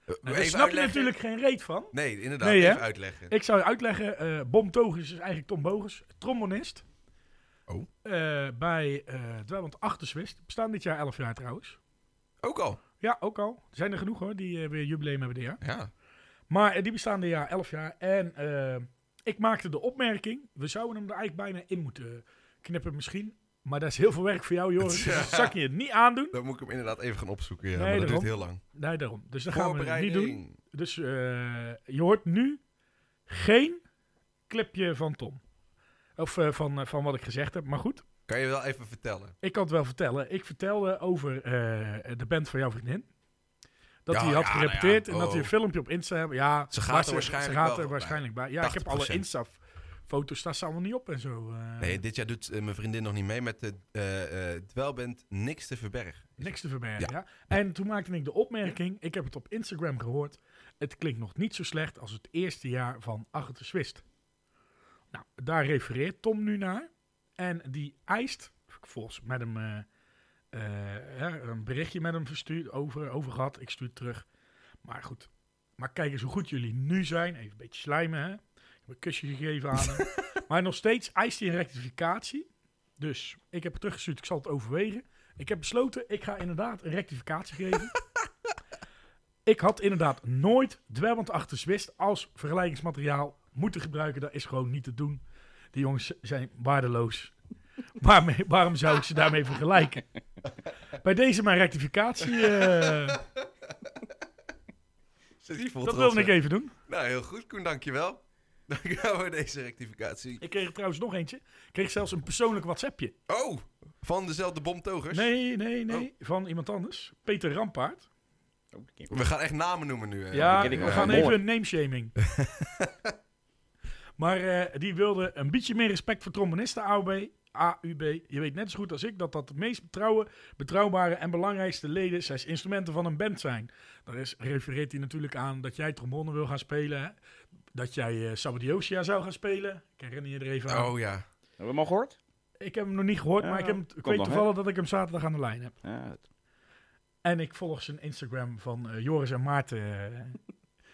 Speaker 4: Eh,
Speaker 2: Nou, daar
Speaker 4: even
Speaker 2: snap je
Speaker 4: uitleggen.
Speaker 2: natuurlijk geen reet van.
Speaker 4: Nee, inderdaad.
Speaker 2: Nee, hè?
Speaker 4: even uitleggen.
Speaker 2: Ik zou je uitleggen, eh Bom Togers is eigenlijk Tom Bogers, trombonist.
Speaker 4: Oh.
Speaker 2: Eh, bij eh Dwelland Achterswist. Bestaan dit jaar 11 jaar trouwens.
Speaker 4: Ook al.
Speaker 2: Ja, ook al. Er zijn er genoeg hoor, die eh, weer jubileum hebben dit jaar.
Speaker 4: Ja.
Speaker 2: Maar eh, die bestaan dit jaar 11 jaar. En eh, ik maakte de opmerking, we zouden hem er eigenlijk bijna in moeten knippen misschien. Maar dat is heel veel werk voor jou, Joris. Dus dat zak je het niet aandoen.
Speaker 4: Dan moet ik hem inderdaad even gaan opzoeken. Ja,
Speaker 2: Nee,
Speaker 4: maar dat duurt
Speaker 2: daarom.
Speaker 4: heel lang.
Speaker 2: Nee, daarom. Dus dat gaan we niet
Speaker 4: Voorbereiding.
Speaker 2: doen. Dus eh, je hoort nu geen clipje van Tom. Of eh, van, eh, van wat ik gezegd heb. Maar goed,
Speaker 4: Kan je wel even vertellen?
Speaker 2: ik kan het wel vertellen. Ik vertelde over eh, de band van jouw vriendin. Dat
Speaker 4: Ja,
Speaker 2: hij had
Speaker 4: ja, nou ja.
Speaker 2: gerepeteerd en dat hij een
Speaker 4: Oh.
Speaker 2: filmpje op Insta hebben. Ja,
Speaker 4: Ze gaat
Speaker 2: maar
Speaker 4: er waarschijnlijk
Speaker 2: ze gaat
Speaker 4: wel
Speaker 2: er
Speaker 4: bij.
Speaker 2: waarschijnlijk bij. Ja, ik heb alle
Speaker 4: 80%.
Speaker 2: Insta-foto's, daar staan allemaal niet op en zo. eh.
Speaker 4: Nee, dit jaar doet eh, mijn vriendin nog niet mee met de eh eh dwelband Niks te verbergen.
Speaker 2: Niks te verbergen, ja.
Speaker 4: Ja.
Speaker 2: En toen maakte ik de opmerking, ik heb het op Instagram gehoord, het klinkt nog niet zo slecht als het eerste jaar van Achter de Zwist. Nou, daar refereert Tom nu naar. En die eist, volgens met hem eh, eh, hè, een berichtje met hem verstuurd, over, over gehad, ik stuur het terug. Maar goed, maar kijk eens hoe goed jullie nu zijn. Even een beetje slijmen, hè. Ik heb een kusje gegeven aan hem. maar nog steeds eist hij een rectificatie. Dus ik heb het teruggestuurd, ik zal het overwegen. Ik heb besloten, ik ga inderdaad een rectificatie geven. ik had inderdaad nooit dwermend achter Zwist als vergelijkingsmateriaal moeten gebruiken. Dat is gewoon niet te doen. Die jongens zijn waardeloos. Waarmee- waarom zou ik ze daarmee vergelijken? Bij deze mijn rectificatie. eh,
Speaker 4: Dus
Speaker 2: dat wilde ik even doen.
Speaker 4: Nou, heel goed Koen, dankjewel. Dankjewel voor deze rectificatie.
Speaker 2: Ik kreeg er trouwens nog eentje. Ik kreeg zelfs een persoonlijk WhatsAppje.
Speaker 4: Oh, van dezelfde bomtogers?
Speaker 2: Nee, nee, nee. Van iemand anders. Peter Rampaard.
Speaker 1: Oh, ik-
Speaker 4: We gaan echt namen noemen nu. eh.
Speaker 2: Ja,
Speaker 1: ken ik
Speaker 2: we
Speaker 1: wel.
Speaker 2: gaan
Speaker 1: Ja, mooi.
Speaker 2: even een nameshaming. maar eh, die wilde een beetje meer respect voor trombonisten, AUB. AUB. Je weet net zo goed als ik dat dat de meest betrouwe, betrouwbare en belangrijkste leden slash instrumenten van een band zijn. Daar is, refereert hij natuurlijk aan dat jij trombone wil gaan spelen. Hè? Dat jij eh Sabadiosia zou gaan spelen. Ik herinner je er even aan.
Speaker 4: Oh ja.
Speaker 1: Hebben we hem al gehoord?
Speaker 2: Ik heb hem nog niet gehoord,
Speaker 1: Ja,
Speaker 2: maar ik, heb, hem- ik
Speaker 1: komt
Speaker 2: weet
Speaker 1: nog, hè?
Speaker 2: toevallig dat ik hem zaterdag aan de lijn heb.
Speaker 1: Ja, het-
Speaker 2: En ik volg zijn Instagram van eh, Joris en Maarten. eh,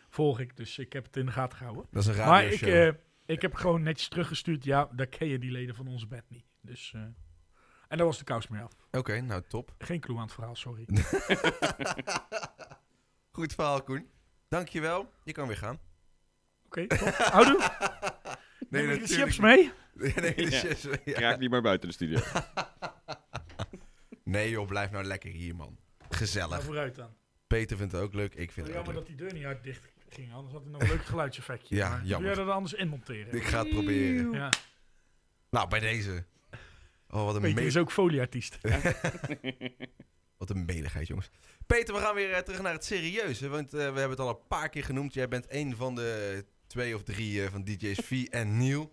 Speaker 2: volg ik, dus ik heb het in de gaten gehouden.
Speaker 4: Dat is een
Speaker 2: Maar ik,
Speaker 4: radioshow.
Speaker 2: eh, ik heb gewoon netjes teruggestuurd. Ja, daar ken je die leden van onze band niet. Dus, eh, en daar was de kous mee af.
Speaker 4: Oké, nou top.
Speaker 2: Geen clue aan het verhaal, sorry.
Speaker 4: Goed verhaal Koen. Dankjewel. Je kan weer gaan.
Speaker 2: Oké, top. Houdoe, neem je de
Speaker 4: natuurlijk
Speaker 2: chips
Speaker 4: niet.
Speaker 2: mee?
Speaker 4: Nee, nee, de
Speaker 1: Ja.
Speaker 4: chips mee,
Speaker 1: Ik
Speaker 4: ja.
Speaker 1: raak niet meer buiten de studio.
Speaker 4: Nee joh, blijf nou lekker hier man.
Speaker 2: Nou,
Speaker 4: Gezellig.
Speaker 2: vooruit dan.
Speaker 4: Peter vindt het ook leuk, ik vind het ook
Speaker 2: Jammer
Speaker 4: leuk.
Speaker 2: dat die deur niet uit dicht ging. Anders had hij nog een leuk geluidseffectje.
Speaker 4: Ja,
Speaker 2: maar
Speaker 4: jammer.
Speaker 2: Wil jij dat anders in monteren?
Speaker 4: Ik ga het proberen.
Speaker 2: Ja.
Speaker 4: Nou, bij deze. Oh, wat een,
Speaker 2: Peter
Speaker 4: me-
Speaker 2: is ook folieartiest.
Speaker 4: wat een meligheid, jongens. Peter, we gaan weer eh, terug naar het serieuze. Want eh, we hebben het al een paar keer genoemd. Jij bent een van de twee of drie eh, van DJ's V en Nieuw.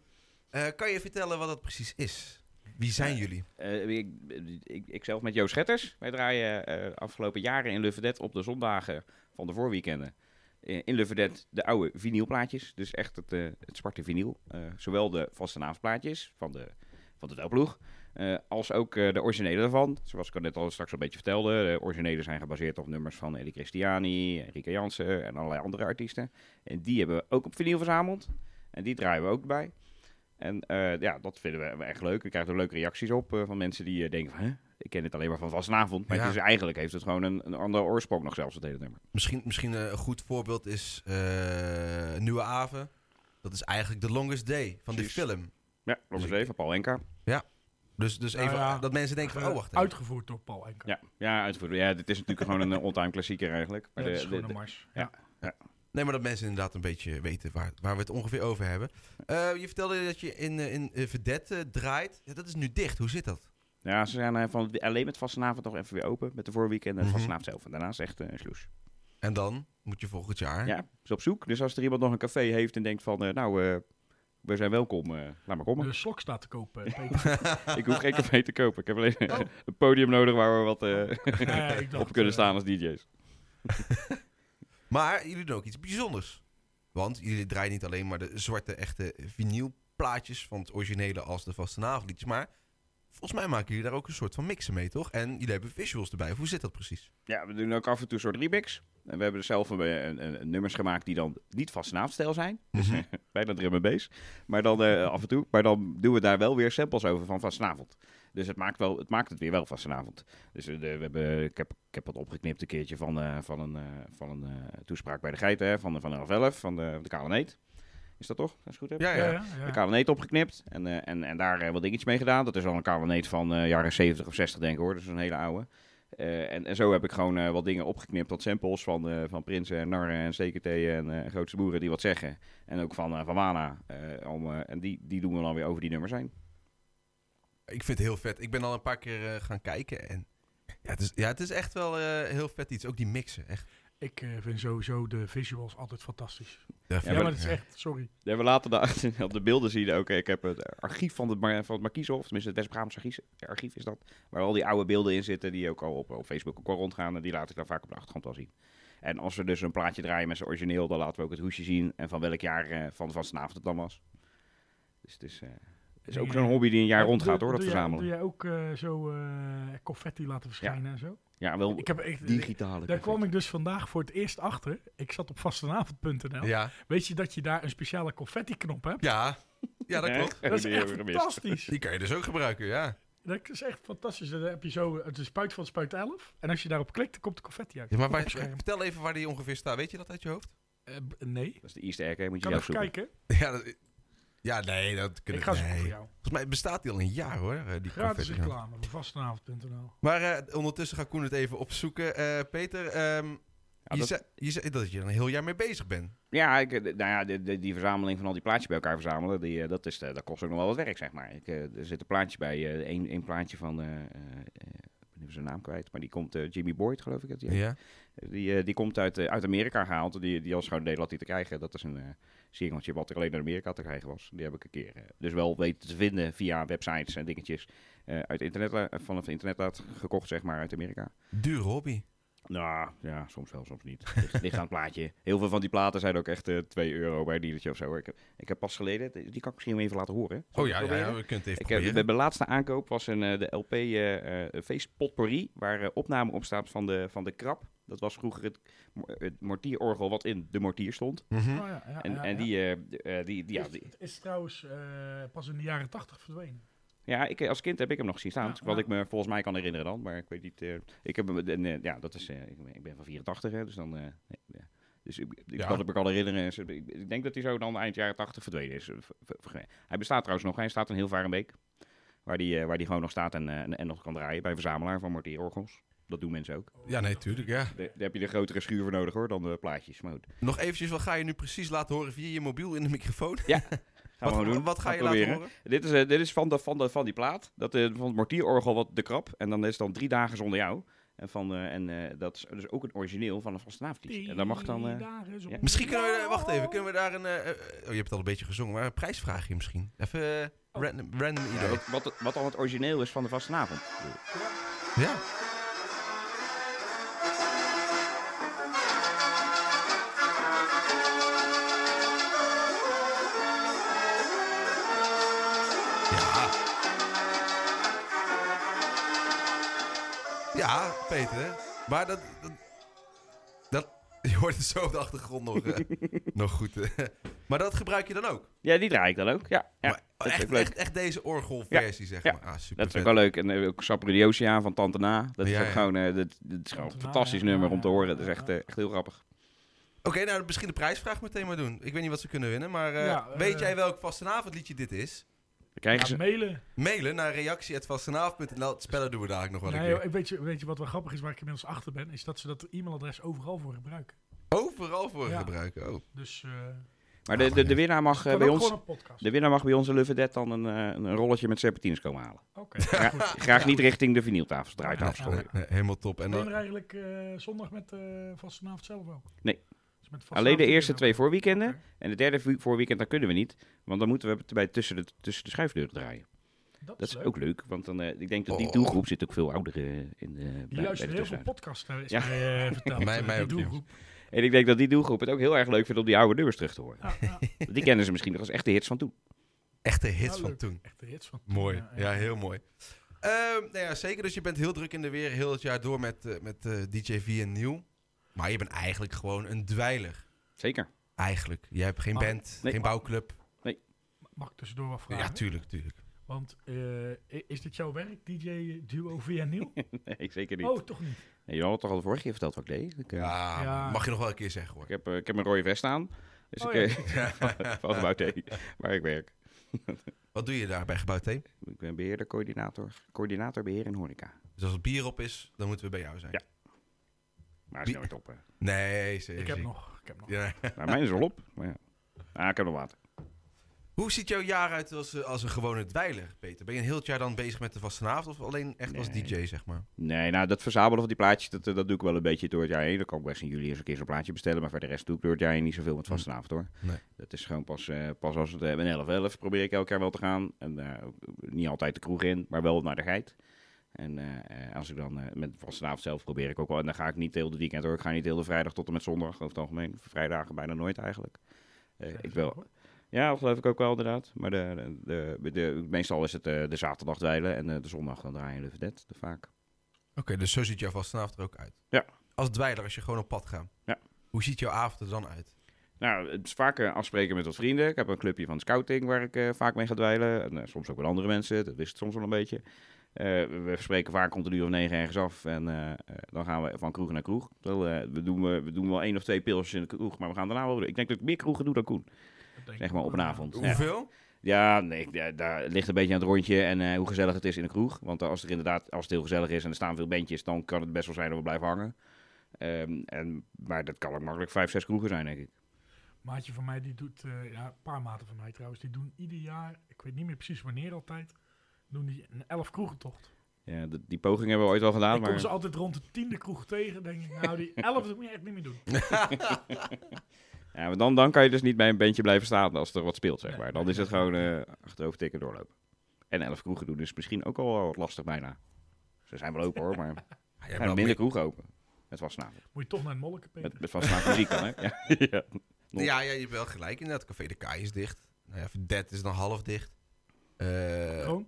Speaker 4: Eh, kan je vertellen wat dat precies is? Wie zijn
Speaker 1: Ja.
Speaker 4: jullie?
Speaker 1: Eh, ik, ik, ik zelf met Joost Schetters. Wij draaien eh, afgelopen jaren in Lufferdet op de zondagen van de voorweekenden. Eh, in Lufferdet de oude vinylplaatjes. Dus echt het, eh, het zwarte vinyl. Eh, zowel de vastenavondplaatjes van de, van de Delploeg. eh, als ook eh, de originele daarvan. Zoals ik al net al straks een beetje vertelde. De originele zijn gebaseerd op nummers van Eddie Christiani, Enrique Jansen en allerlei andere artiesten. En die hebben we ook op vinyl verzameld. En die draaien we ook bij. En eh, ja, dat vinden we echt leuk. We krijgen er leuke reacties op eh, van mensen die eh, denken van... Hè? Ik ken het alleen maar van vastenavond. Maar
Speaker 4: Ja.
Speaker 1: het is eigenlijk heeft het gewoon een, een andere oorsprong nog zelfs, het hele nummer.
Speaker 4: Misschien, misschien eh, een goed voorbeeld is eh, Nieuwe Aven. Dat is eigenlijk The Longest Day van die
Speaker 1: Precies.
Speaker 4: film.
Speaker 1: Ja, Robert
Speaker 4: Dus
Speaker 1: Zee van Paul Enka.
Speaker 4: Dus, dus
Speaker 2: Nou
Speaker 4: even
Speaker 2: ja.
Speaker 4: dat mensen denken van, oh wacht even.
Speaker 2: Uitgevoerd door Paul Enker.
Speaker 1: Ja, ja, uitvoer. ja, dit is natuurlijk gewoon een eh, all-time klassieker eigenlijk. Maar
Speaker 2: Ja, de
Speaker 1: de, de,
Speaker 2: Schone
Speaker 1: de-
Speaker 2: Mars.
Speaker 1: ja.
Speaker 2: Ja.
Speaker 4: Nee, maar dat mensen inderdaad een beetje weten waar, waar we het ongeveer over hebben. Eh, je vertelde dat je in, eh, in eh, Vedette eh, draait. Ja, dat is nu dicht. Hoe zit dat?
Speaker 1: ja, ze zijn eh, van, alleen met vastenavond nog even weer open. Met de voorweekend en
Speaker 4: Mhm.
Speaker 1: vastenavond zelf. En daarnaast echt eh, een sloes.
Speaker 4: En dan moet je volgend jaar.
Speaker 1: Ja, is op zoek. Dus als er iemand nog een café heeft en denkt van... eh, nou, eh, we zijn welkom, eh, laat maar komen.
Speaker 2: De slok staat te kopen, Peter.
Speaker 1: Ik hoef geen café te kopen. Ik heb alleen eh, een podium nodig waar we wat eh,
Speaker 2: Ja, ik dacht,
Speaker 1: op kunnen
Speaker 2: eh,
Speaker 1: staan als dj's.
Speaker 4: Maar jullie doen ook iets bijzonders. Want jullie draaien niet alleen maar de zwarte echte vinylplaatjes van het originele als de vastenavondliedjes. Maar volgens mij maken jullie daar ook een soort van mixen mee, toch? En jullie hebben visuals erbij. Hoe zit dat precies?
Speaker 1: Ja, we doen ook af en toe een soort remix. En we hebben er zelf een, eh, een, een- een nummers gemaakt die dan niet vast naamstijl zijn.
Speaker 4: Mhm.
Speaker 1: Bijna drum and bass. Maar dan eh, af en toe. Maar dan doen we daar wel weer samples over van vastenavond. Dus het maakt, wel, het maakt het weer wel vastenavond. Dus eh, de- we hebben, ik, heb, ik heb wat opgeknipt een keertje van, eh, van een, eh, van een eh, toespraak bij de geiten. hè, van, van 11 van de, de Kale Neet. Is dat toch? Als ik het goed heb?
Speaker 4: ja,
Speaker 2: Ja,
Speaker 4: ja.
Speaker 2: ja, ja.
Speaker 1: de kamerneet opgeknipt. En, eh, en, en daar eh, wat dingetjes mee gedaan. Dat is al een kamerneet van eh, jaren 70 of 60 denk ik hoor. Dat is een hele oude. Eh, en, en zo heb ik gewoon eh, wat dingen opgeknipt. Wat samples van, eh, van prinsen en narren en CKT en eh, grootste boeren die wat zeggen. En ook van, eh van Wana. eh, om, eh, en die, die doen we dan weer over die nummers heen.
Speaker 4: Ik vind het heel vet. Ik ben al een paar keer eh, gaan kijken. En ja, het is, ja, het is echt wel eh, heel vet iets. Ook die mixen. Echt.
Speaker 2: Ik eh, vind sowieso de visuals altijd fantastisch. Ja,
Speaker 1: maar-
Speaker 2: maar dat is echt, sorry.
Speaker 1: Ja, we laten daar op de beelden zien ook. Ik heb het archief van het, Mar- van het Markiezenhof, tenminste het Desbraams archief, archief is dat. Waar al die oude beelden in zitten, die ook al op, op Facebook ook al rondgaan. En die laat ik dan vaak op de achtergrond al zien. En als we dus een plaatje draaien met zijn origineel, dan laten we ook het hoesje zien. En van welk jaar eh, van van vanavond het dan was. Dus het is, eh, het is ook zo'n hobby die een jaar
Speaker 2: Ja,
Speaker 1: rondgaat
Speaker 2: doe-
Speaker 1: hoor, dat
Speaker 2: doe jij-
Speaker 1: verzamelen.
Speaker 2: Doe jij ook eh, zo eh, confetti laten verschijnen en zo?
Speaker 1: Ja, wel
Speaker 2: Ik heb echt,
Speaker 1: digitale.
Speaker 2: daar kwam
Speaker 1: effecten.
Speaker 2: ik dus vandaag voor het eerst achter. Ik zat op vastenavond.nl.
Speaker 4: Ja,
Speaker 2: Weet je dat je daar een speciale confetti-knop hebt?
Speaker 4: ja. Ja, dat
Speaker 1: Hè?
Speaker 4: klopt.
Speaker 2: Dat is
Speaker 1: Die hebben we
Speaker 2: echt
Speaker 1: gemist.
Speaker 2: fantastisch.
Speaker 4: Die kan je dus ook gebruiken, ja.
Speaker 2: Dat is echt fantastisch. Dan heb je zo het is spuit van spuit 11. En als je daarop klikt, dan komt de confetti uit.
Speaker 4: ja maar
Speaker 2: Op
Speaker 4: waar-
Speaker 2: het scherm.
Speaker 4: vertel even waar die ongeveer staat. Weet je dat uit je hoofd?
Speaker 2: Eh, b- nee.
Speaker 1: Dat is de Easter egg, hè? moet je
Speaker 2: Kan
Speaker 1: zelf
Speaker 2: even
Speaker 1: zoeken.
Speaker 2: kijken.
Speaker 4: Ja, dat, ja nee, dat kunnen
Speaker 2: Ik ga zoeken
Speaker 4: nee.
Speaker 2: voor jou.
Speaker 4: Volgens mij bestaat die al een jaar hoor, eh, die
Speaker 2: Gratis
Speaker 4: confetti.
Speaker 2: reclame van vastenavond.nl.
Speaker 4: Maar eh, ondertussen gaat Koen het even opzoeken. Eh, Peter, ehm, je,
Speaker 1: dat-
Speaker 4: zei, je zei dat je er een heel jaar mee bezig bent.
Speaker 1: Ja, ik, eh, nou ja de- de- die verzameling van al die plaatjes bij elkaar verzamelen, die, eh, dat, is, eh, dat kost ook nog wel wat werk, zeg maar. Ik, eh, er zit een plaatje bij, eh, één één plaatje van, eh eh, eh, ik ben even zijn naam kwijt, maar die komt, eh, Jimmy Boyd geloof ik. Dat die, die, eh, die komt uit, eh, uit Amerika gehaald, die, die als gewoon Nederland niet te krijgen. Dat is een eh singeltje wat alleen naar Amerika te krijgen was. Die heb ik een keer eh, dus wel weten te vinden via websites en dingetjes eh, uit internet, eh, vanaf internet had gekocht, zeg maar, uit Amerika.
Speaker 4: Duur hobby.
Speaker 1: Nou, ja, soms wel, soms niet. Het ligt aan het plaatje. Heel veel van die platen zijn ook echt eh 2 euro bij een dealertje of zo. Ik heb, ik heb pas geleden, die kan ik misschien even laten horen. Zal
Speaker 4: Oh
Speaker 1: ik
Speaker 4: ja,
Speaker 1: het
Speaker 4: ja,
Speaker 1: proberen?
Speaker 4: we kunnen het even
Speaker 1: Ik heb,
Speaker 4: proberen.
Speaker 1: bij mijn laatste aankoop was een, eh, de LP eh eh feestpotpourri, waar eh, opname op staat van de, van de krab. Dat was vroeger het, mo- het mortierorgel wat in de mortier stond.
Speaker 4: Mhm.
Speaker 2: Oh ja, ja,
Speaker 1: En,
Speaker 2: ja,
Speaker 1: en
Speaker 2: ja.
Speaker 1: die, eh, d- eh, die, die, ja,
Speaker 2: is,
Speaker 1: die-
Speaker 2: is trouwens eh, pas in de jaren 80 verdwenen.
Speaker 1: Ja, ik, als kind heb ik hem nog gezien staan.
Speaker 2: Ja,
Speaker 1: wat
Speaker 2: ja.
Speaker 1: ik me volgens mij kan herinneren dan. Maar ik weet niet. eh, ik heb hem. en, eh, ja, dat is. eh, ik, ben- ik ben van 84, hè, dus dan. eh, nee, ja. Dus ik, ik
Speaker 4: Ja.
Speaker 1: kan het me kan herinneren. Dus ik, ik denk dat hij zo dan eind jaren 80 verdwenen is. Eh, ver- ver- ver- Hij bestaat trouwens nog. Hij staat in heel Varenbeek. Waar die, eh, waar die gewoon nog staat en, eh, en, en nog kan draaien. Bij verzamelaar van mortierorgels. Dat doen mensen ook.
Speaker 4: Ja, nee, tuurlijk, ja.
Speaker 1: Daar, daar heb je de grotere schuur voor nodig hoor dan de plaatjes. Maar goed.
Speaker 4: Nog eventjes, wat ga je nu precies laten horen via je mobiel in de microfoon?
Speaker 1: Gaan we
Speaker 4: wat,
Speaker 1: gewoon doen.
Speaker 4: Wat ga
Speaker 1: Gaan
Speaker 4: je
Speaker 1: proberen.
Speaker 4: laten horen?
Speaker 1: Dit is, eh, dit is van, de, van, de, van die plaat. Dat, eh, van het mortierorgel wat de krap. En dan is het dan drie dagen zonder jou. En, van, eh, en eh, dat is dus ook een origineel van een vastenavondlied. En dat mag dan... eh, ja.
Speaker 4: Misschien kunnen we, wacht even, kunnen we daar een, eh, eh, oh je hebt het al een beetje gezongen, maar een prijsvraagje misschien. Even eh, random, random
Speaker 1: ja,
Speaker 4: idee.
Speaker 1: wat, wat, wat dan het origineel is van de vastenavond.
Speaker 4: Ja. Ja. Ja, Peter. Maar dat... dat, dat- je hoort het zo op de achtergrond nog, eh, nog goed. eh. maar dat gebruik je dan ook?
Speaker 1: Ja, die draai ik dan ook. Ja, ja
Speaker 4: Maar
Speaker 1: dat is
Speaker 4: echt,
Speaker 1: ook leuk.
Speaker 4: echt, echt deze orgelversie, zeg
Speaker 1: ja.
Speaker 4: maar. Ah, super
Speaker 1: Dat is ook wel leuk. En eh, ook Sapridiosia van Tante Na. Dat is
Speaker 4: Ja,
Speaker 1: ook
Speaker 4: ja.
Speaker 1: gewoon, eh, dat, dat is gewoon een
Speaker 2: Tante Na,
Speaker 1: fantastisch
Speaker 2: ja,
Speaker 1: nummer
Speaker 2: ja,
Speaker 1: om te horen.
Speaker 2: ja,
Speaker 1: Dat is echt,
Speaker 2: ja.
Speaker 1: eh, echt heel grappig.
Speaker 4: Oké, nou misschien de prijsvraag meteen maar doen. Ik weet niet wat ze kunnen winnen, maar eh,
Speaker 2: Ja, eh,
Speaker 4: weet jij welk vastenavondliedje dit is?
Speaker 1: Dan krijgen ze...
Speaker 2: mailen.
Speaker 4: Mailen naar reactie.vastenavond.nl. Het spellen doen we dadelijk nog wel een
Speaker 2: Nee,
Speaker 4: keer.
Speaker 2: joh, ik weet, je, weet je wat wel grappig is waar ik inmiddels achter ben? Is dat ze dat e-mailadres overal voor gebruiken.
Speaker 4: Overal voor
Speaker 2: Ja.
Speaker 4: gebruiken. Oh.
Speaker 2: Dus eh
Speaker 1: Maar de, de, de winnaar mag eh,
Speaker 2: kan
Speaker 1: bij
Speaker 2: ook
Speaker 1: ons...
Speaker 2: gewoon een podcast.
Speaker 1: De winnaar mag bij onze Love Dead dan een, eh, een rolletje met serpentines komen halen.
Speaker 2: Oké.
Speaker 1: Gra-
Speaker 2: goed.
Speaker 1: graag niet
Speaker 2: Ja.
Speaker 1: richting de vinyltafels, draaitafels.
Speaker 2: Ja,
Speaker 1: sorry.
Speaker 4: Nee, nee, eh, helemaal top. En
Speaker 2: Neem
Speaker 4: dan,
Speaker 2: er eigenlijk eh, zondag met eh vastenavond zelf ook.
Speaker 1: Nee.
Speaker 2: Dus met vastenavond
Speaker 1: Alleen de eerste
Speaker 2: zelf.
Speaker 1: twee voorweekenden.
Speaker 2: Oké.
Speaker 1: En de derde vo- voorweekend, daar kunnen we niet. Want dan moeten we het bij tussen de, tussen de schuifdeuren draaien.
Speaker 2: Dat,
Speaker 1: Dat is ook leuk, want dan, eh, ik denk dat die
Speaker 4: Oh.
Speaker 1: doelgroep zit ook veel ouderen in de, bij-
Speaker 2: Die
Speaker 1: bij, de
Speaker 2: luisteren heel veel
Speaker 1: tussen.
Speaker 2: podcasts, eh, is
Speaker 1: Ja.
Speaker 2: mij, eh, verteld.
Speaker 4: Mij-
Speaker 2: eh,
Speaker 4: mij
Speaker 2: die
Speaker 4: ook, jongens.
Speaker 2: doelgroep.
Speaker 1: En ik denk dat die doelgroep het ook heel erg leuk vindt om die oude nummers terug te horen.
Speaker 2: Ja, ja.
Speaker 1: Want die kennen ze misschien nog als echte hits van toen.
Speaker 4: echte hits
Speaker 2: Ja,
Speaker 4: van
Speaker 2: leuk.
Speaker 4: toen.
Speaker 2: Echt de hits van.
Speaker 4: Mooi.
Speaker 2: Ja,
Speaker 4: Ja,
Speaker 2: ja.
Speaker 4: heel mooi. Ehm, nou ja, zeker. Dus je bent heel druk in de weer, heel het jaar door met, eh, met eh, DJ V en Nieuw. Maar je bent eigenlijk gewoon een dweiler.
Speaker 1: Zeker.
Speaker 4: Eigenlijk. Je hebt geen
Speaker 2: Maar-
Speaker 4: band,
Speaker 1: Nee.
Speaker 4: geen bouwclub.
Speaker 2: Mag ik tussendoor wat vragen?
Speaker 4: Ja, tuurlijk, tuurlijk.
Speaker 2: Want eh, i- is dit jouw werk, DJ Duo via Nieuw?
Speaker 1: Nee, zeker niet.
Speaker 2: oh, toch niet.
Speaker 1: Nee, je had het toch al de vorige keer verteld wat ik deed. Ik, eh,
Speaker 4: Ja,
Speaker 2: Ja.
Speaker 4: Ah, mag je nog wel een keer zeggen hoor.
Speaker 1: ik, heb, eh, ik heb een rode vest aan. Dus
Speaker 2: Oh,
Speaker 1: ik, eh, van gebouw T, waar ik werk.
Speaker 4: Wat doe je daar bij Gebouw T? Dus
Speaker 1: Ik ben beheerder, coördinator, coördinator beheer en horeca.
Speaker 4: Dus als het bier op is, dan moeten we bij jou zijn.
Speaker 1: Ja. Maar hij is
Speaker 4: Wie-
Speaker 1: nooit op. hè.
Speaker 4: Nee, zeker.
Speaker 2: Ik heb
Speaker 4: zeker.
Speaker 2: nog. Ik heb nog.
Speaker 4: Ja.
Speaker 1: Nou, mijn is al op. Maar ja. Ah, ik heb nog water.
Speaker 4: Hoe ziet jouw jaar uit als, eh, als een gewone dweiler, Peter? Ben je een heel het jaar dan bezig met de vastenavond of alleen echt als
Speaker 1: Nee.
Speaker 4: DJ, zeg maar?
Speaker 1: Nee, nou, dat verzamelen van die plaatjes, dat, eh, dat doe ik wel een beetje door het jaar heen. Dan kan ik best in juli eens een keer zo'n plaatje bestellen. Maar verder de rest doe ik door het jaar heen niet zoveel met vastenavond, hoor.
Speaker 4: Nee.
Speaker 1: Dat is gewoon pas, eh, pas als het... eh, ben 11-11 probeer ik elk jaar wel te gaan. En eh, niet altijd de kroeg in, maar wel naar de geit. En eh, eh, als ik dan eh, met vastenavond zelf probeer ik ook wel. En dan ga ik niet heel de weekend hoor. Ik ga niet heel de vrijdag tot en met zondag over het algemeen. Vrijdagen bijna nooit eigenlijk. Eh, ik wel, ja, dat geloof ik ook wel inderdaad. Maar de, de, de, de- meestal is het eh, de zaterdag dweilen en eh, de zondag dan draaien de vedette te vaak.
Speaker 4: Oké, dus zo ziet jouw vastenavond er ook uit.
Speaker 1: Ja.
Speaker 4: Als dweiler, als je gewoon op pad gaat.
Speaker 1: Ja.
Speaker 4: Hoe ziet jouw avond er dan uit?
Speaker 1: Nou, het is vaak eh, afspreken met wat vrienden. Ik heb een clubje van scouting waar ik eh, vaak mee ga dweilen. En, eh, soms ook met andere mensen, dat wist het soms wel een beetje. Eh, we spreken vaak rond een uur of negen ergens af en eh, eh, dan gaan we van kroeg naar kroeg. Wel, eh, we, doen, eh, we doen wel één of twee pils in de kroeg, maar we gaan daarna wel door. Ik denk dat ik meer kroegen doe dan Koen, zeg maar op een avond. Ja.
Speaker 4: Hoeveel?
Speaker 1: Ja, nee, ik- ja, daar het ligt een beetje aan het rondje en eh, hoe gezellig het is in de kroeg. Want als, er inderdaad, als het heel gezellig is en er staan veel bandjes, dan kan het best wel zijn dat we blijven hangen. Ehm, en, maar dat kan ook makkelijk vijf, zes kroegen zijn, denk ik.
Speaker 2: Maatje van mij die doet, eh, ja, een paar maten van mij trouwens, die doen ieder jaar, ik weet niet meer precies wanneer altijd, doen die een elf kroegentocht.
Speaker 1: Ja, d- die poging hebben we ooit al gedaan,
Speaker 2: ik kom
Speaker 1: maar
Speaker 2: ze altijd rond de tiende kroeg tegen, denk ik, nou die elf dat moet je echt niet meer doen.
Speaker 1: ja, maar dan, dan kan je dus niet bij een bandje blijven staan als er wat speelt, zeg
Speaker 2: Nee,
Speaker 1: maar.
Speaker 2: nee,
Speaker 1: Dan is
Speaker 2: nee.
Speaker 1: het gewoon eh achterover tikken doorlopen. En elf kroegen doen is misschien ook al wel wat lastig bijna. Ze zijn wel open hoor, maar
Speaker 4: Ja,
Speaker 1: er zijn minder kroegen open. Met vastnaam.
Speaker 2: Moet je toch naar het molken, Peter.
Speaker 1: Met, met vastnaam muziek dan, hè? Ja, ja. nog.
Speaker 4: Ja, ja, je hebt wel gelijk. Inderdaad, Café de Kaai is dicht. Nou ja, Dead is dan half dicht. Eh,
Speaker 2: Kroon?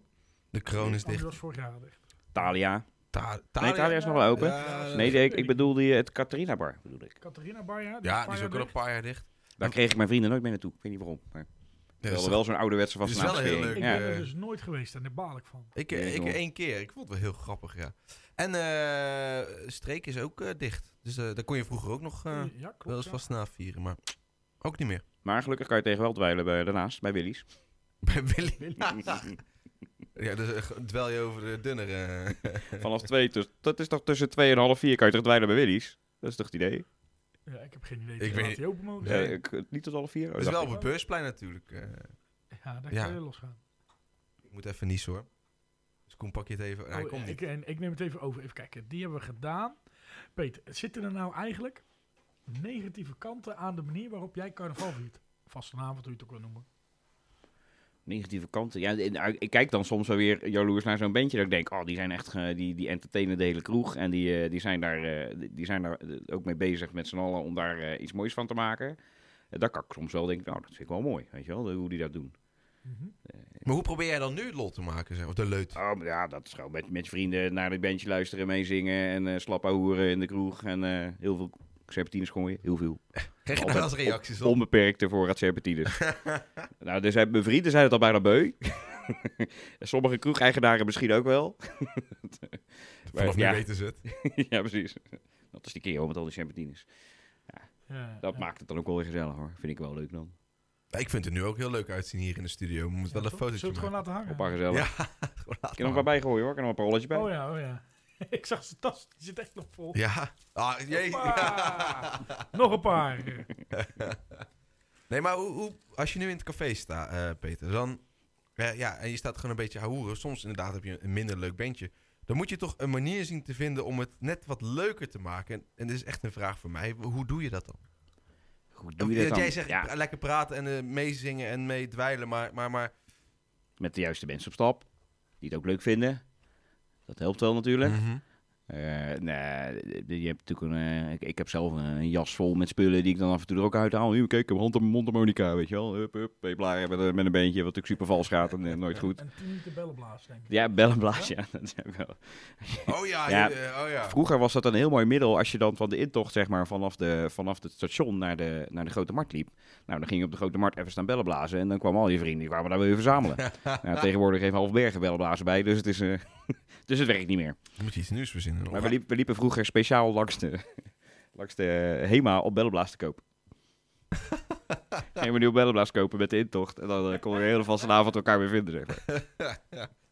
Speaker 4: de Kroon is
Speaker 2: Oh, die
Speaker 4: dicht.
Speaker 2: was vorig jaar al dicht.
Speaker 1: Thalia.
Speaker 4: Ta
Speaker 1: Nee, Thalia is nog wel open.
Speaker 4: Ja,
Speaker 1: Nee,
Speaker 2: dat
Speaker 1: ik,
Speaker 2: weet
Speaker 1: ik
Speaker 2: ik
Speaker 1: bedoelde je het Catharina Bar, bedoel ik.
Speaker 2: Catharina Barja.
Speaker 4: ja, die
Speaker 2: paar
Speaker 4: is ook
Speaker 2: jaar
Speaker 4: al een
Speaker 2: dicht.
Speaker 4: paar jaar dicht. Dus-
Speaker 1: Daar kreeg ik mijn vrienden nooit mee naartoe. Ik weet niet waarom. Maar
Speaker 4: Ja,
Speaker 1: we
Speaker 4: dat is
Speaker 1: hadden wel zo'n ouderwetse
Speaker 4: dat
Speaker 1: van
Speaker 4: is wel heel leuk.
Speaker 2: Ik
Speaker 1: Ja.
Speaker 2: ben er
Speaker 4: eh.
Speaker 2: dus nooit geweest en daar baal ik van.
Speaker 4: Ik,
Speaker 1: Nee,
Speaker 4: eh, ik
Speaker 1: joh.
Speaker 4: één keer. Ik vond het wel heel grappig, ja. En eh Streek is ook eh, dicht. Dus eh, daar kon je vroeger ook nog eh,
Speaker 2: ja, klopt.
Speaker 4: wel eens
Speaker 2: ja.
Speaker 4: vast na vieren, maar ook niet meer.
Speaker 1: Maar gelukkig kan je tegen wel dweilen bij, daarnaast, bij Willy's.
Speaker 4: Bij Willy. ja, dus eh, dwel je over de dunner.
Speaker 2: Oh,
Speaker 4: eh.
Speaker 1: Vanaf twee, dus, dat is toch tussen twee en half vier kan je toch dweilen bij Willy's? Dat is toch het idee?
Speaker 2: Ja, ik heb geen idee.
Speaker 4: Ik
Speaker 2: Ik
Speaker 4: weet
Speaker 2: weet
Speaker 4: niet.
Speaker 2: die open mogen
Speaker 4: Nee.
Speaker 1: Ja,
Speaker 2: zijn.
Speaker 1: ik, niet tot half vier? Oh,
Speaker 4: dat is
Speaker 1: dacht
Speaker 4: wel
Speaker 1: ik.
Speaker 4: op het beursplein natuurlijk. eh.
Speaker 2: Ja, daar
Speaker 4: Ja.
Speaker 2: kan je losgaan.
Speaker 4: ik moet even niezen hoor. Dus Koen, pak je het even. Hij
Speaker 2: Oh,
Speaker 4: komt
Speaker 2: ik,
Speaker 4: niet.
Speaker 2: en, ik neem het even over. Even kijken. Die hebben we gedaan. Peter, zitten er nou eigenlijk negatieve kanten aan de manier waarop jij carnaval viert? Vastenavond, hoe je het ook wil noemen.
Speaker 1: Negatieve kanten. Ja, nou, ik kijk dan soms wel weer jaloers naar zo'n bandje. Dat ik denk, oh, die zijn echt, eh, die, die entertainen de hele kroeg. En die, eh, die zijn daar, eh, die- die zijn daar eh, ook mee bezig met z'n allen om daar eh, iets moois van te maken. Eh, daar kan ik soms wel denken, nou, dat vind ik wel mooi. Weet je wel, de- hoe die dat doen.
Speaker 2: Mhm.
Speaker 4: Maar hoe probeer jij dan nu het lol te maken? Zeg? Of de leut?
Speaker 2: Ah,
Speaker 1: Oh, maar ja, dat is gewoon met, met vrienden naar dit bandje luisteren, meezingen. En eh slappe hoeren in de kroeg. En eh, heel veel serpentines gooien. Heel veel.
Speaker 4: Krijg je daar wel eens reacties op?
Speaker 1: Onbeperkte voorraad serpentines. nou, dus, mijn vrienden zijn het al bijna beu. Sommige kroegeigenaren misschien ook wel.
Speaker 4: Vanaf nu
Speaker 1: ja.
Speaker 4: weten ze het.
Speaker 1: ja, precies. Dat is de keer hoor, met al die serpentines.
Speaker 2: Ja,
Speaker 1: Dat
Speaker 2: ja.
Speaker 1: maakt het dan ook wel weer gezellig hoor. Vind ik wel leuk dan.
Speaker 4: Ik vind het nu ook heel leuk uitzien hier in de studio. We moeten
Speaker 2: Ja,
Speaker 4: wel een
Speaker 2: toch?
Speaker 4: fotootje
Speaker 2: Zullen we het gewoon
Speaker 4: maken.
Speaker 2: laten hangen?
Speaker 1: Op haar gezellig.
Speaker 4: Ja,
Speaker 1: Ik
Speaker 4: Gewoon
Speaker 1: kan er
Speaker 4: laten
Speaker 1: een paar bij gooien hoor. Ik kan er een parolletje bij.
Speaker 2: Oh ja, oh ja. ik zag zijn tas. Die zit echt nog vol.
Speaker 4: Ja. Ah, jee.
Speaker 2: Hoppa. nog een paar.
Speaker 4: Nee, maar hoe, hoe, als je nu in het café staat, eh, Peter, dan... eh, ja, en je staat gewoon een beetje hoeren. Soms inderdaad heb je een minder leuk bandje. Dan moet je toch een manier zien te vinden om het net wat leuker te maken. En, en dit is echt een vraag voor mij. Hoe doe je dat dan?
Speaker 1: Hoe doe je dat dan?
Speaker 4: jij zegt
Speaker 1: Ja,
Speaker 4: eh, lekker praten en eh, meezingen en meedwijlen, maar, maar, maar...
Speaker 1: met de juiste mensen op stap. Die het ook leuk vinden. Dat helpt wel natuurlijk.
Speaker 4: Mhm.
Speaker 1: Eh, nee, je hebt natuurlijk een, eh, ik, ik heb zelf een, een jas vol met spullen die ik dan af en toe er ook uit haal. Hier, Kijk, ik heb hand op mijn mondharmonica, weet je wel. Hup, hup, hey, blaren met, een- met een beentje, wat natuurlijk super vals gaat en eh, nooit goed.
Speaker 2: En tien minuten bellen blazen, denk ik.
Speaker 1: Ja, bellenblaas, ja. Dat is ook wel.
Speaker 4: Oh ja,
Speaker 1: Ja.
Speaker 4: je- eh, oh ja.
Speaker 1: Vroeger was dat een heel mooi middel als je dan van de intocht, zeg maar, vanaf, de, vanaf het station naar de, naar de Grote Markt liep. Nou, dan ging je op de Grote Markt even staan bellen blazen en dan kwamen al je vrienden, die kwamen daar weer verzamelen. nou, tegenwoordig heeft Halfbergen bellen blazen bij, dus het, is, eh, dus het werkt niet meer.
Speaker 4: Je moet iets nieuws verzinnen.
Speaker 1: Maar we, liep- we liepen vroeger speciaal langs de, langs de HEMA op bellenblaas te kopen. Geen nieuw bellenblaas kopen met de intocht. En dan eh, konden we heel vast vanavond elkaar weer vinden. Zeg maar.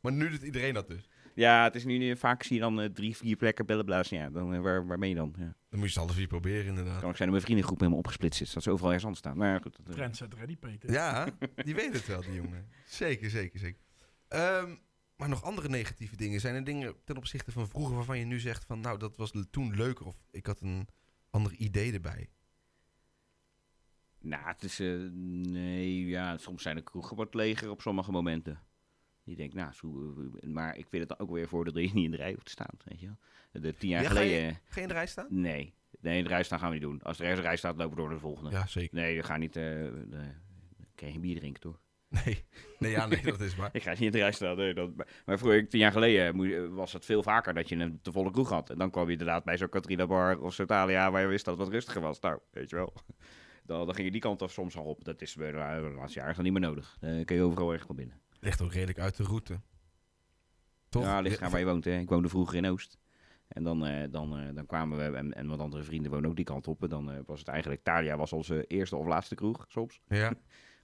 Speaker 4: maar nu doet iedereen dat dus.
Speaker 1: Ja, het is nu, nu- vaak zie je dan eh, drie, vier plekken bellenblaas. Ja, dan, eh, waar, waarmee dan? Ja.
Speaker 4: Dan moet je ze alle vier proberen, inderdaad.
Speaker 1: Kan ook zijn dat mijn vriendengroep helemaal opgesplitst is. Dat ze overal ergens anders staan. Maar ja, goed. dat, eh,
Speaker 2: Trendset ready, Peter.
Speaker 4: Ja, die weet het wel, die jongen. Zeker, zeker, zeker. Ehm, maar nog andere negatieve dingen. Zijn er dingen ten opzichte van vroeger waarvan je nu zegt van... nou, dat was le- toen leuker of ik had een ander idee erbij?
Speaker 1: Nou, het is... eh, nee, ja, soms zijn de kroegen wat leger op sommige momenten. Je denkt, nou, zo, eh, maar ik vind het dan ook weer voor dat je niet in de rij hoeft te staan, weet je wel. De tien jaar
Speaker 4: Ja, ga je-
Speaker 1: geleden...
Speaker 4: Geen in de rij staan?
Speaker 1: Nee. Nee, in de rij staan gaan we niet doen. Als er ergens een rij staat, lopen we door naar de volgende.
Speaker 4: Ja, zeker.
Speaker 1: Nee, we gaan niet... eh nee. Ik kan geen bier drinken, toch?
Speaker 4: Nee, nee, ja, nee dat is waar.
Speaker 1: Ik ga niet in de rij staan. Nee, dat, maar- maar vroeger, tien jaar geleden, moe- eh, was het veel vaker dat je een te volle kroeg had. En dan kwam je inderdaad bij zo'n Katrina Bar of zo'n Thalia, waar je wist dat het wat rustiger was. Nou, weet je wel. Dan, dan ging je die kant af soms al op. Dat is bij de la- de laatste jaren dan niet meer nodig. Dan kun je overal erg van binnen.
Speaker 4: Ligt ook redelijk uit de route. Toch?
Speaker 1: Ja, ligt eraan waar je woont. Hè. Ik woonde vroeger in Oost. En dan, eh, dan, eh, dan kwamen we, en, en wat andere vrienden wonen ook die kant op. En dan eh, was het eigenlijk, Thalia was onze eerste of laatste kroeg soms.
Speaker 4: Ja.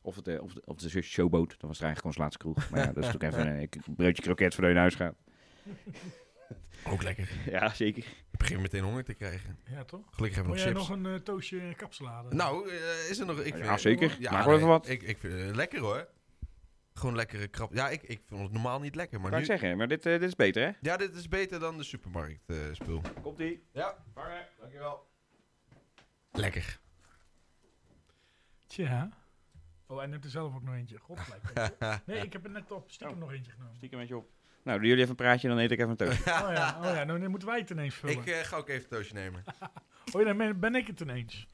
Speaker 1: Of, het, eh, of, de- of de zus Showboat, dan was het eigenlijk onze laatste kroeg. Maar ja, dat is natuurlijk even een eh, broodje kroket voordat je naar huis gaat.
Speaker 4: Ook lekker.
Speaker 1: Ja, zeker.
Speaker 4: Ik begin meteen honger te krijgen.
Speaker 2: Ja, toch?
Speaker 4: Gelukkig hebben
Speaker 2: Wil
Speaker 4: we
Speaker 2: jij
Speaker 4: nog chips.
Speaker 2: nog een eh, toosje kapsalade?
Speaker 4: Nou, eh, is er nog... Ik
Speaker 1: Ja,
Speaker 4: vind-
Speaker 1: zeker.
Speaker 4: Ja,
Speaker 1: Maak wel even
Speaker 4: nee,
Speaker 1: wat.
Speaker 4: Ik, ik vind het lekker hoor. Gewoon lekkere krap. Ja, ik, ik vond het normaal niet lekker. Maar
Speaker 1: kan
Speaker 4: nu,
Speaker 1: ik zeggen, maar dit, eh, dit is beter, hè?
Speaker 4: Ja, dit is beter dan de supermarkt eh, spul.
Speaker 1: Komt-ie.
Speaker 4: Ja, vangen. Dankjewel. Lekker.
Speaker 2: Tja. Oh, en hebt er zelf ook nog eentje. God, lijkt wel. Nee, ik heb er net op stiekem nog eentje genomen.
Speaker 1: Stiekem met je op. Nou, doen jullie even een praatje, dan eet ik even een teug.
Speaker 2: Oh ja, oh ja, nou dan moeten wij het ineens vullen.
Speaker 4: Ik eh, ga ook even een toosje nemen.
Speaker 2: Oh ja, dan ben- ben ik het ineens.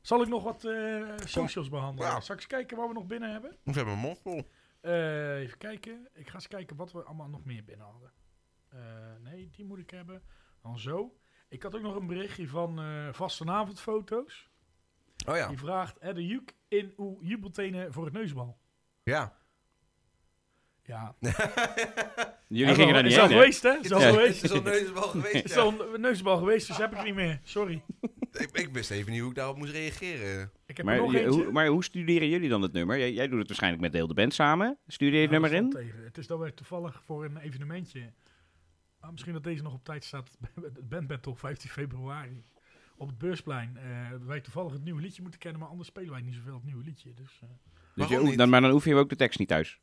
Speaker 2: Zal ik nog wat eh, socials behandelen?
Speaker 4: Ja.
Speaker 2: Zal ik eens kijken wat we nog binnen hebben?
Speaker 4: We hebben een mond vol.
Speaker 2: Eh, even kijken. Ik ga eens kijken wat we allemaal nog meer binnen hadden. Eh, nee, die moet ik hebben. Dan zo. Ik had ook nog een berichtje van eh vastenavondfoto's.
Speaker 4: Oh ja.
Speaker 2: Die vraagt, eh, de juk in uw jubeltenen voor het neusbal.
Speaker 4: Ja.
Speaker 2: Ja.
Speaker 1: Jullie gingen
Speaker 2: er
Speaker 1: daar niet
Speaker 2: Is al
Speaker 1: heen, hè?
Speaker 2: geweest, hè? Is al
Speaker 1: Ja.
Speaker 2: geweest.
Speaker 4: Het is al neusbal geweest.
Speaker 2: Is
Speaker 4: ja.
Speaker 2: al een neusbal geweest, dus heb ik er niet meer. Sorry.
Speaker 4: ik, ik wist even niet hoe ik daarop moest reageren.
Speaker 2: Ik heb
Speaker 1: Maar,
Speaker 2: er nog
Speaker 1: je-
Speaker 2: eentje.
Speaker 1: hoe, maar hoe studeren jullie dan het nummer? Jij, jij doet het waarschijnlijk met de hele band samen. Studeer je het
Speaker 2: Nou,
Speaker 1: nummer
Speaker 2: dat
Speaker 1: in?
Speaker 2: valt tegen. Het is dat we toevallig voor een evenementje. Ah, misschien dat deze nog op tijd staat. Het Band Battle 15 februari. Op het beursplein. eh, dat wij toevallig het nieuwe liedje moeten kennen. Maar anders spelen wij niet zoveel het nieuwe liedje. Dus eh,
Speaker 1: Dus
Speaker 4: Waarom
Speaker 1: je,
Speaker 4: niet?
Speaker 1: dan, maar dan oefen je ook de tekst niet thuis.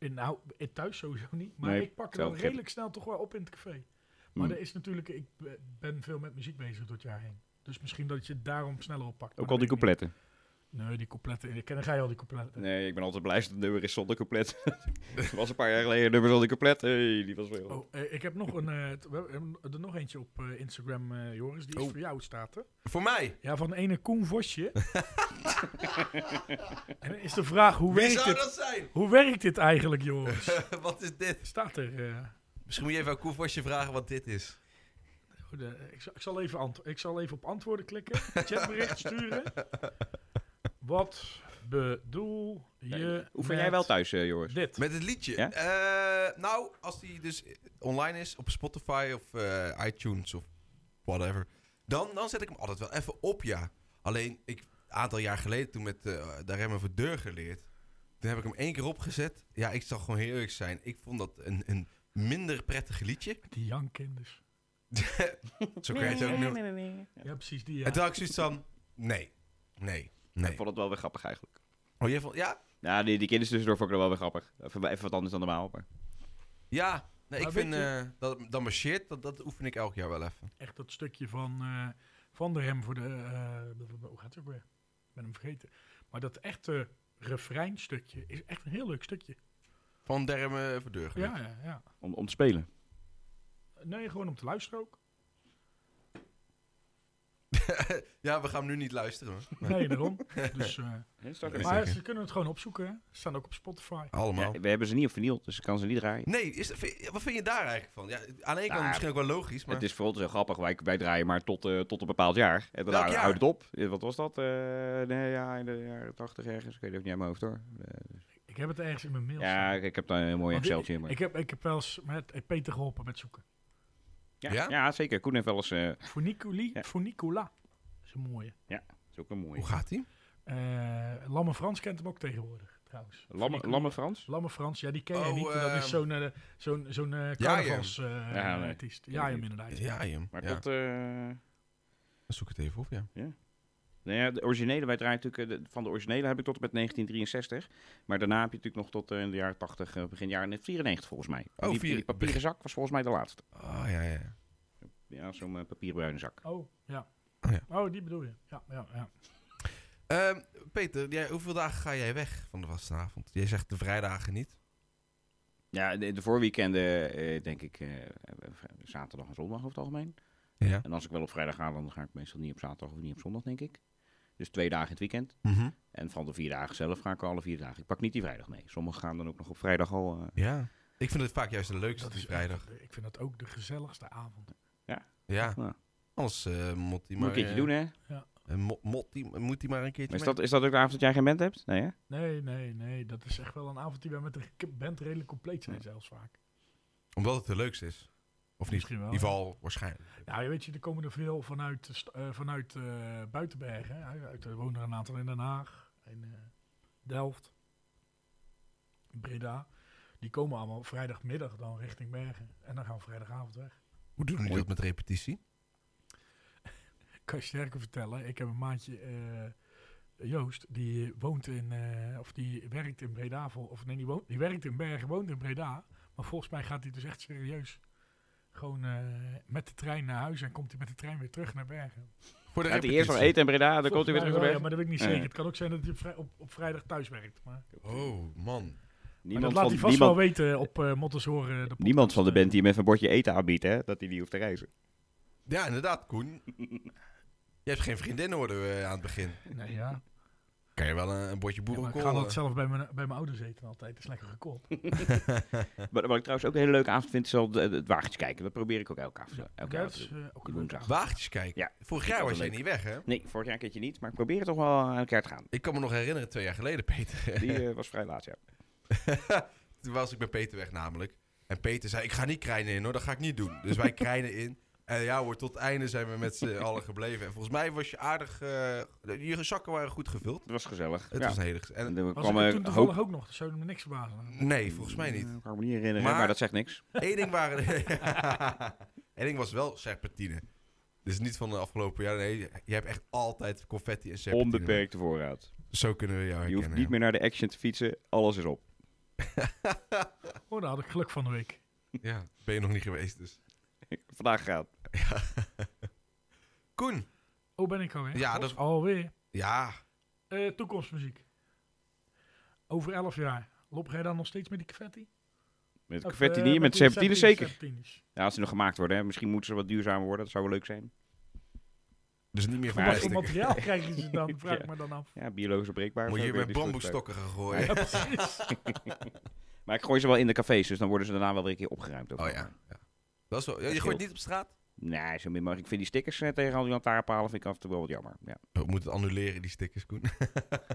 Speaker 2: in, nou, eh, thuis sowieso niet. Maar
Speaker 1: Nee,
Speaker 2: ik pak het
Speaker 1: zo,
Speaker 2: dan
Speaker 1: ik-
Speaker 2: redelijk snel toch wel op in het café. Maar
Speaker 1: Hmm.
Speaker 2: er is natuurlijk. Ik be- ben veel met muziek bezig door het jaar heen. Dus misschien dat je het daarom sneller oppakt. maar
Speaker 1: Ook al die
Speaker 2: dat weet ik
Speaker 1: coupletten.
Speaker 2: niet. Nee, die coupletten. Ik ken dan ga je al die coupletten.
Speaker 1: Nee, ik ben altijd blij dat het nummer is zonder couplet. Het was een paar jaar geleden een nummer zonder couplet. Hey, die was veel.
Speaker 2: Oh, eh, ik heb nog een. eh, t- we hebben er nog eentje op eh, Instagram, eh, Joris. Die is
Speaker 4: Oh.
Speaker 2: voor jou staat er.
Speaker 4: Voor mij.
Speaker 2: Ja, van de ene Koen Vosje. en dan is de vraag, hoe
Speaker 4: Wie
Speaker 2: werkt
Speaker 4: zou
Speaker 2: dit,
Speaker 4: dat zijn?
Speaker 2: hoe werkt dit eigenlijk, Joris?
Speaker 4: wat is dit?
Speaker 2: Staat er... eh,
Speaker 4: Misschien moet je even aan Koefwasje vragen wat dit is.
Speaker 2: oh, de- ik, zal, ik, zal even ant- ik zal even op antwoorden klikken. Chatbericht sturen. Wat bedoel
Speaker 1: Nee,
Speaker 2: je
Speaker 1: oefen jij
Speaker 2: met
Speaker 1: wel thuis, eh, Joris?
Speaker 2: Dit.
Speaker 4: Met het liedje.
Speaker 1: Ja?
Speaker 4: Eh, nou, als die dus online is op Spotify of eh, iTunes of whatever, dan, dan zet ik hem altijd wel even op, ja. Alleen, ik, een aantal jaar geleden, toen met eh de remmen voor deur geleerd, toen heb ik hem één keer opgezet. Ja, ik zal gewoon heel eerlijk zijn. Ik vond dat een, een minder prettig liedje.
Speaker 2: Die jankkinders.
Speaker 4: Zo kun je het ook noemen.
Speaker 2: Ja, precies die, eh, ja.
Speaker 4: En toen had ik zoiets van, nee, nee,
Speaker 1: Ik
Speaker 4: nee.
Speaker 1: vond het wel weer grappig eigenlijk.
Speaker 4: Oh, jij vond, ja?
Speaker 1: Ja, die, die kinderen tussendoor vond ik er wel weer grappig. Even, even wat anders dan normaal. Maar.
Speaker 4: Ja. Nee, ik
Speaker 2: Maar
Speaker 4: vind
Speaker 2: weet
Speaker 4: eh, dat, dat marcheert, dat, dat oefen ik elk jaar wel even.
Speaker 2: Echt dat stukje van, eh, van de hem voor de... eh, hoe gaat het ook weer? Ik ben hem vergeten. Maar dat echte refreinstukje is echt een heel leuk stukje.
Speaker 4: Van Dermen voor deur geleerd.
Speaker 2: Ja, ja, ja.
Speaker 1: Om, om te spelen.
Speaker 2: Nee, gewoon om te luisteren ook.
Speaker 4: Ja, we gaan hem nu niet luisteren. hoor.
Speaker 2: Nee, daarom. Dus, eh,
Speaker 1: Hè,
Speaker 4: Is
Speaker 1: Starker?
Speaker 2: maar
Speaker 4: lekker.
Speaker 2: ze kunnen het gewoon opzoeken. hè. Ze staan ook op Spotify.
Speaker 4: Allemaal.
Speaker 1: Ja, we hebben ze niet op vinyl, dus ik kan ze niet draaien.
Speaker 4: Nee, is, vind- wat vind je daar eigenlijk van? Ja, aan de ene kant
Speaker 1: Nou,
Speaker 4: misschien ook wel logisch, maar...
Speaker 1: Het is voor ons heel grappig, wij, wij draaien maar tot, eh, tot een bepaald jaar. En daarna
Speaker 4: Welk jaar?
Speaker 1: houdt het op. Eh, Wat was dat? Eh, nee, ja, in de jaren 80 ergens. Ik weet het ook niet uit mijn hoofd hoor. Eh,
Speaker 2: Ik heb het ergens in mijn mail.
Speaker 1: ja,
Speaker 2: staan.
Speaker 1: ik, ik heb daar een mooi
Speaker 2: Want ik-
Speaker 1: Exceltje. Maar...
Speaker 2: Ik heb, ik heb wel eens met eh, Peter geholpen met zoeken.
Speaker 1: ja,
Speaker 4: Ja?
Speaker 1: ja? zeker. Koen heeft wel eens... eh,
Speaker 2: Voor Nicoli,
Speaker 1: Ja.
Speaker 2: voor Nicola. Dat is een mooie.
Speaker 1: is ook een mooie.
Speaker 4: Hoe gaat die?
Speaker 2: Eh, Lamme Frans kent hem ook tegenwoordig. trouwens.
Speaker 1: Lamme,
Speaker 2: Die-
Speaker 1: Lamme Frans?
Speaker 2: Lamme Frans, ja, die ken je
Speaker 4: Oh,
Speaker 2: niet. Dat
Speaker 4: eh,
Speaker 2: is zo'n eh, zo'n zo'n eh
Speaker 1: Ja, nee.
Speaker 2: carnavalsartiest.
Speaker 1: Ken ik
Speaker 2: ja, hem
Speaker 1: niet.
Speaker 2: inderdaad.
Speaker 4: Ja, jam.
Speaker 1: Maar
Speaker 4: Ja.
Speaker 1: dat... eh,
Speaker 4: Zoek het even op, ja.
Speaker 1: Nou ja, de originele, wij draaien natuurlijk, eh, de- van de originele heb ik tot en met 1963. Maar daarna heb je natuurlijk nog tot eh, in de jaren 80, eh, begin jaren 94 volgens mij. En die,
Speaker 4: Oh, vier-
Speaker 1: die papieren zak was volgens mij de laatste.
Speaker 4: Oh, ja, ja.
Speaker 1: Ja, zo'n eh, papierbruine zak.
Speaker 2: Oh, ja.
Speaker 4: Oh, ja.
Speaker 2: Oh, die bedoel je. Ja, ja, ja.
Speaker 4: Ehm, Peter, jij, hoeveel dagen ga jij weg van de vastenavond? Jij zegt de vrijdagen niet.
Speaker 1: Ja, de, de voorweekenden eh, denk ik eh, v- zaterdag en zondag over het algemeen.
Speaker 4: Ja.
Speaker 1: En als ik wel op vrijdag ga, dan ga ik meestal niet op zaterdag of niet op zondag, denk ik. Dus twee dagen in het weekend.
Speaker 4: Mhm.
Speaker 1: En van de vier dagen zelf ga ik alle vier dagen. Ik pak niet die vrijdag mee. Sommigen gaan dan ook nog op vrijdag al. eh,
Speaker 4: Ja. Ik vind het vaak juist de leukste, die vrijdag.
Speaker 2: Ik vind dat ook de gezelligste avond.
Speaker 4: Ja.
Speaker 1: Ja.
Speaker 4: Anders eh, moet die
Speaker 1: moet
Speaker 4: maar...
Speaker 1: nou, een keertje doen, hè?
Speaker 4: eh, mo- mot die- moet die maar een keertje
Speaker 1: Is dat, is dat ook de avond dat jij geen band hebt? Nee, hè?
Speaker 2: Nee, nee, nee. Dat is echt wel een avond die wij met de k- band redelijk compleet zijn zelfs vaak.
Speaker 4: mee. Omdat het de leukste is. Of niet?
Speaker 2: Misschien wel.
Speaker 4: In ieder geval waarschijnlijk.
Speaker 2: Nou, je weet je, er komen er veel vanuit, de st- eh, vanuit eh, Buitenbergen. hè. Uit, uit- er wonen er een aantal in Den Haag, in eh, Delft, Breda. Die komen allemaal vrijdagmiddag dan richting Bergen. En dan gaan we vrijdagavond weg.
Speaker 4: Hoe doen jullie dat met repetitie?
Speaker 2: Kan je sterker vertellen, ik heb een maatje, eh, Joost, die woont in, eh, of die werkt in Breda. vol- Of nee, die, woont, die werkt in Bergen, woont in Breda. Maar volgens mij gaat hij dus echt serieus gewoon eh, met de trein naar huis en komt hij met de trein weer terug naar Bergen.
Speaker 4: Voor de
Speaker 1: Gaat hij eerst nog
Speaker 4: repetitie.
Speaker 1: eten in Breda, dan komt hij weer terug
Speaker 2: Volgens
Speaker 1: naar
Speaker 2: mij wel,
Speaker 1: bed.
Speaker 2: ja, maar dat weet ik niet
Speaker 1: Ja.
Speaker 2: zeker. Het kan ook zijn dat hij op, vrij- op, op vrijdag thuis werkt. Maar, maar
Speaker 4: Oh, man.
Speaker 1: Niemand,
Speaker 2: dat laat
Speaker 1: van,
Speaker 2: hij vast
Speaker 1: niemand,
Speaker 2: wel weten op eh Motters Horen. de podcast.
Speaker 1: niemand van de band die hem even een bordje eten aanbiedt, hè? Dat hij niet hoeft te reizen.
Speaker 4: Ja, inderdaad, Koen. Je hebt geen vriendin, hoorden we aan het begin.
Speaker 2: Nee, ja.
Speaker 4: Kan je wel een, een bordje
Speaker 2: Ja, maar ik ga
Speaker 4: boerenkool...
Speaker 2: dat
Speaker 4: eh,
Speaker 2: zelf bij mijn, bij mijn ouders eten altijd. Dat is lekker gekoold.
Speaker 1: Maar wat ik trouwens ook een hele leuke avond vind, is al de- het wagentje kijken. Dat probeer ik ook elke avond.
Speaker 2: Ja,
Speaker 1: elke
Speaker 2: dat
Speaker 1: avond te
Speaker 2: is
Speaker 1: doen.
Speaker 2: eh, ook
Speaker 1: Die
Speaker 2: een
Speaker 1: woensdag.
Speaker 4: Wagentjes kijken.
Speaker 1: Ja.
Speaker 4: Vorig
Speaker 1: Vind ik
Speaker 4: jaar was
Speaker 1: altijd
Speaker 4: jij
Speaker 1: leuk.
Speaker 4: niet weg, hè?
Speaker 1: Nee, vorig jaar een keertje niet, maar ik probeer het toch wel aan elkaar te gaan.
Speaker 4: Ik kan me nog herinneren, twee jaar geleden, Peter.
Speaker 1: Die eh, was vrij laat, ja.
Speaker 4: Toen was ik bij Peter weg namelijk. En Peter zei, ik ga niet krijnen in hoor, dat ga ik niet doen. Dus wij krijnen in. En ja hoor, tot het einde zijn we met z'n allen gebleven. En volgens mij was je aardig... eh, je zakken waren goed gevuld.
Speaker 1: Het was gezellig.
Speaker 4: Het
Speaker 1: ja.
Speaker 4: was een hele... gez- En,
Speaker 1: En er
Speaker 2: Was
Speaker 1: kwam
Speaker 2: ik er
Speaker 1: er
Speaker 2: toen
Speaker 1: hoop...
Speaker 2: toevallig ook nog. Dat zou me niks verbazen.
Speaker 4: nee, volgens mij niet.
Speaker 1: Eh, Ik kan me niet herinneren,
Speaker 4: Maar-
Speaker 1: maar, dat zegt niks.
Speaker 4: Eén ding waren... Eén ding was wel serpentine. Dus niet van de afgelopen jaar. Nee, je hebt echt altijd confetti en serpentine.
Speaker 1: Onbeperkte voorraad.
Speaker 4: Zo kunnen we jou
Speaker 1: Je
Speaker 4: herkennen.
Speaker 1: hoeft niet meer naar de action te fietsen, alles is op.
Speaker 2: Oh, daar had ik geluk van de week.
Speaker 4: ja. Ja, ben je nog niet geweest dus.
Speaker 1: Vandaag gaat.
Speaker 4: Koen.
Speaker 2: Oh, ben ik alweer?
Speaker 4: Ja, dat-
Speaker 2: Alweer.
Speaker 4: Ja,
Speaker 2: Eh, toekomstmuziek. Over elf jaar. Lop jij dan nog steeds met die confetti?
Speaker 1: Met
Speaker 2: Of,
Speaker 1: confetti
Speaker 2: eh,
Speaker 1: niet, met
Speaker 2: die
Speaker 1: serpentine zeker.
Speaker 2: serpentines.
Speaker 1: Ja, als ze nog gemaakt worden, hè. misschien moeten ze wat duurzamer worden. Dat zou wel leuk zijn.
Speaker 4: dus niet meer
Speaker 2: Van
Speaker 1: Maar
Speaker 4: van
Speaker 2: wat voor
Speaker 4: plastic.
Speaker 2: materiaal krijgen ze dan? Vraag
Speaker 1: Ja.
Speaker 2: ik me dan af.
Speaker 1: Ja, biologisch breekbaar.
Speaker 4: Moet
Speaker 1: zou
Speaker 4: je
Speaker 1: ik weer
Speaker 4: met
Speaker 1: die stof
Speaker 4: bamboestokken gaan gooien.
Speaker 2: Ja, precies.
Speaker 1: bij. Maar ik gooi ze wel in de cafés, dus dan worden ze daarna wel weer een keer opgeruimd.
Speaker 4: Oh
Speaker 1: overal.
Speaker 4: ja. ja. Dat is wel, ja, je
Speaker 1: scheelt.
Speaker 4: gooit niet op straat?
Speaker 1: Nee, zo min mogelijk. Ik vind die stickers eh, tegen al die lantaarnpalen vind ik af en toe wel wat jammer. Ja.
Speaker 4: Oh, We moeten het annuleren, die stickers, Koen. maar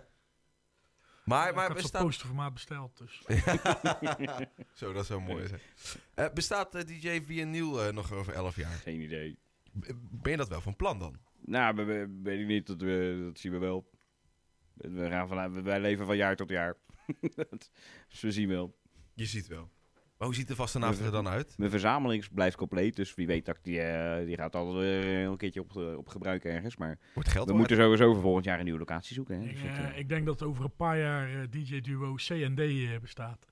Speaker 4: maar
Speaker 2: ik had zo'n
Speaker 4: bestaat...
Speaker 2: posterformaat besteld, dus.
Speaker 4: Zo, dat zou mooi zijn. Eh, bestaat eh, DJ via Neil eh, nog over 11 jaar?
Speaker 1: Geen idee.
Speaker 4: B- Ben je dat wel van plan dan?
Speaker 1: Nou, we, we- weet ik niet. Dat, we, dat zien we wel. We gaan vanuit, wij leven van jaar tot jaar. Dat- dus we zien wel.
Speaker 4: Je ziet wel. Maar hoe ziet de vastenavond er dan uit?
Speaker 1: Mijn verzameling blijft compleet, dus wie weet dat ik die, eh, die gaat altijd weer een keertje op, eh, op gebruiken ergens. Maar
Speaker 4: Wordt geld
Speaker 1: we
Speaker 4: waard?
Speaker 1: moeten sowieso voor volgend jaar een nieuwe locatie zoeken. Hè?
Speaker 2: Ik,
Speaker 1: Dus dat,
Speaker 2: eh,
Speaker 1: eh,
Speaker 2: ik denk dat over een paar jaar eh, DJ-duo C&D eh, bestaat.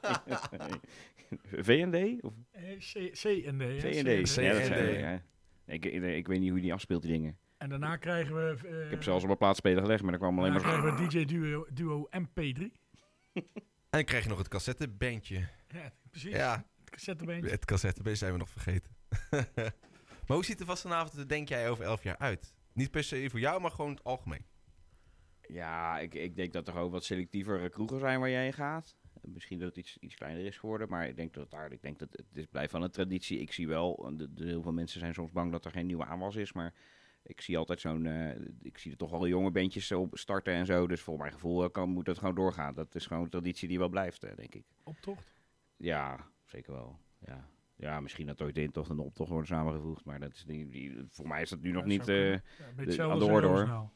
Speaker 1: eh, VND? Of
Speaker 2: Eh, C- C&D.
Speaker 1: CND.
Speaker 2: hè,
Speaker 4: C&D.
Speaker 1: Ja, dat
Speaker 4: CND.
Speaker 1: zijn we, ja. Ik, ik, ik weet niet hoe die afspeelt, die dingen.
Speaker 2: En daarna krijgen we... eh,
Speaker 1: Ik heb zelfs op een plaatsspeler gelegd, maar er kwam alleen
Speaker 2: daarna
Speaker 1: maar... zo-
Speaker 2: krijgen we DJ-duo duo MP3.
Speaker 4: En dan krijg je nog het cassettebandje.
Speaker 2: Ja, precies.
Speaker 4: Ja,
Speaker 2: Het cassettebeentje.
Speaker 4: het cassettebandje zijn we nog vergeten. maar hoe ziet de vastenavond er, denk jij, over 11 jaar uit? Niet per se voor jou, maar gewoon in het algemeen.
Speaker 1: Ja, ik, ik denk dat er gewoon wat selectiever kroegen zijn waar jij heen gaat. Misschien dat het iets, iets kleiner is geworden, maar ik denk dat het daar, ik denk dat het, het is, blijft van een traditie. Ik zie wel, en de, de- heel veel mensen zijn soms bang dat er geen nieuwe aanwas is, maar ik zie altijd zo'n, eh, ik zie er toch wel jonge bandjes op starten en zo. Dus voor mijn gevoel eh, kan, moet dat gewoon doorgaan. Dat is gewoon een traditie die wel blijft, eh, denk ik.
Speaker 2: Optocht.
Speaker 1: Ja, zeker wel. Ja, ja misschien dat ooit de intocht en de optocht worden samengevoegd, maar dat is niet, die, voor mij is dat nu nog
Speaker 2: Ja, zou
Speaker 1: niet. eh,
Speaker 2: kunnen. Ja, een beetje
Speaker 1: de-
Speaker 2: hetzelfde
Speaker 1: aan de
Speaker 2: als
Speaker 1: orde,
Speaker 2: een
Speaker 1: hoor.
Speaker 2: Roosendaal.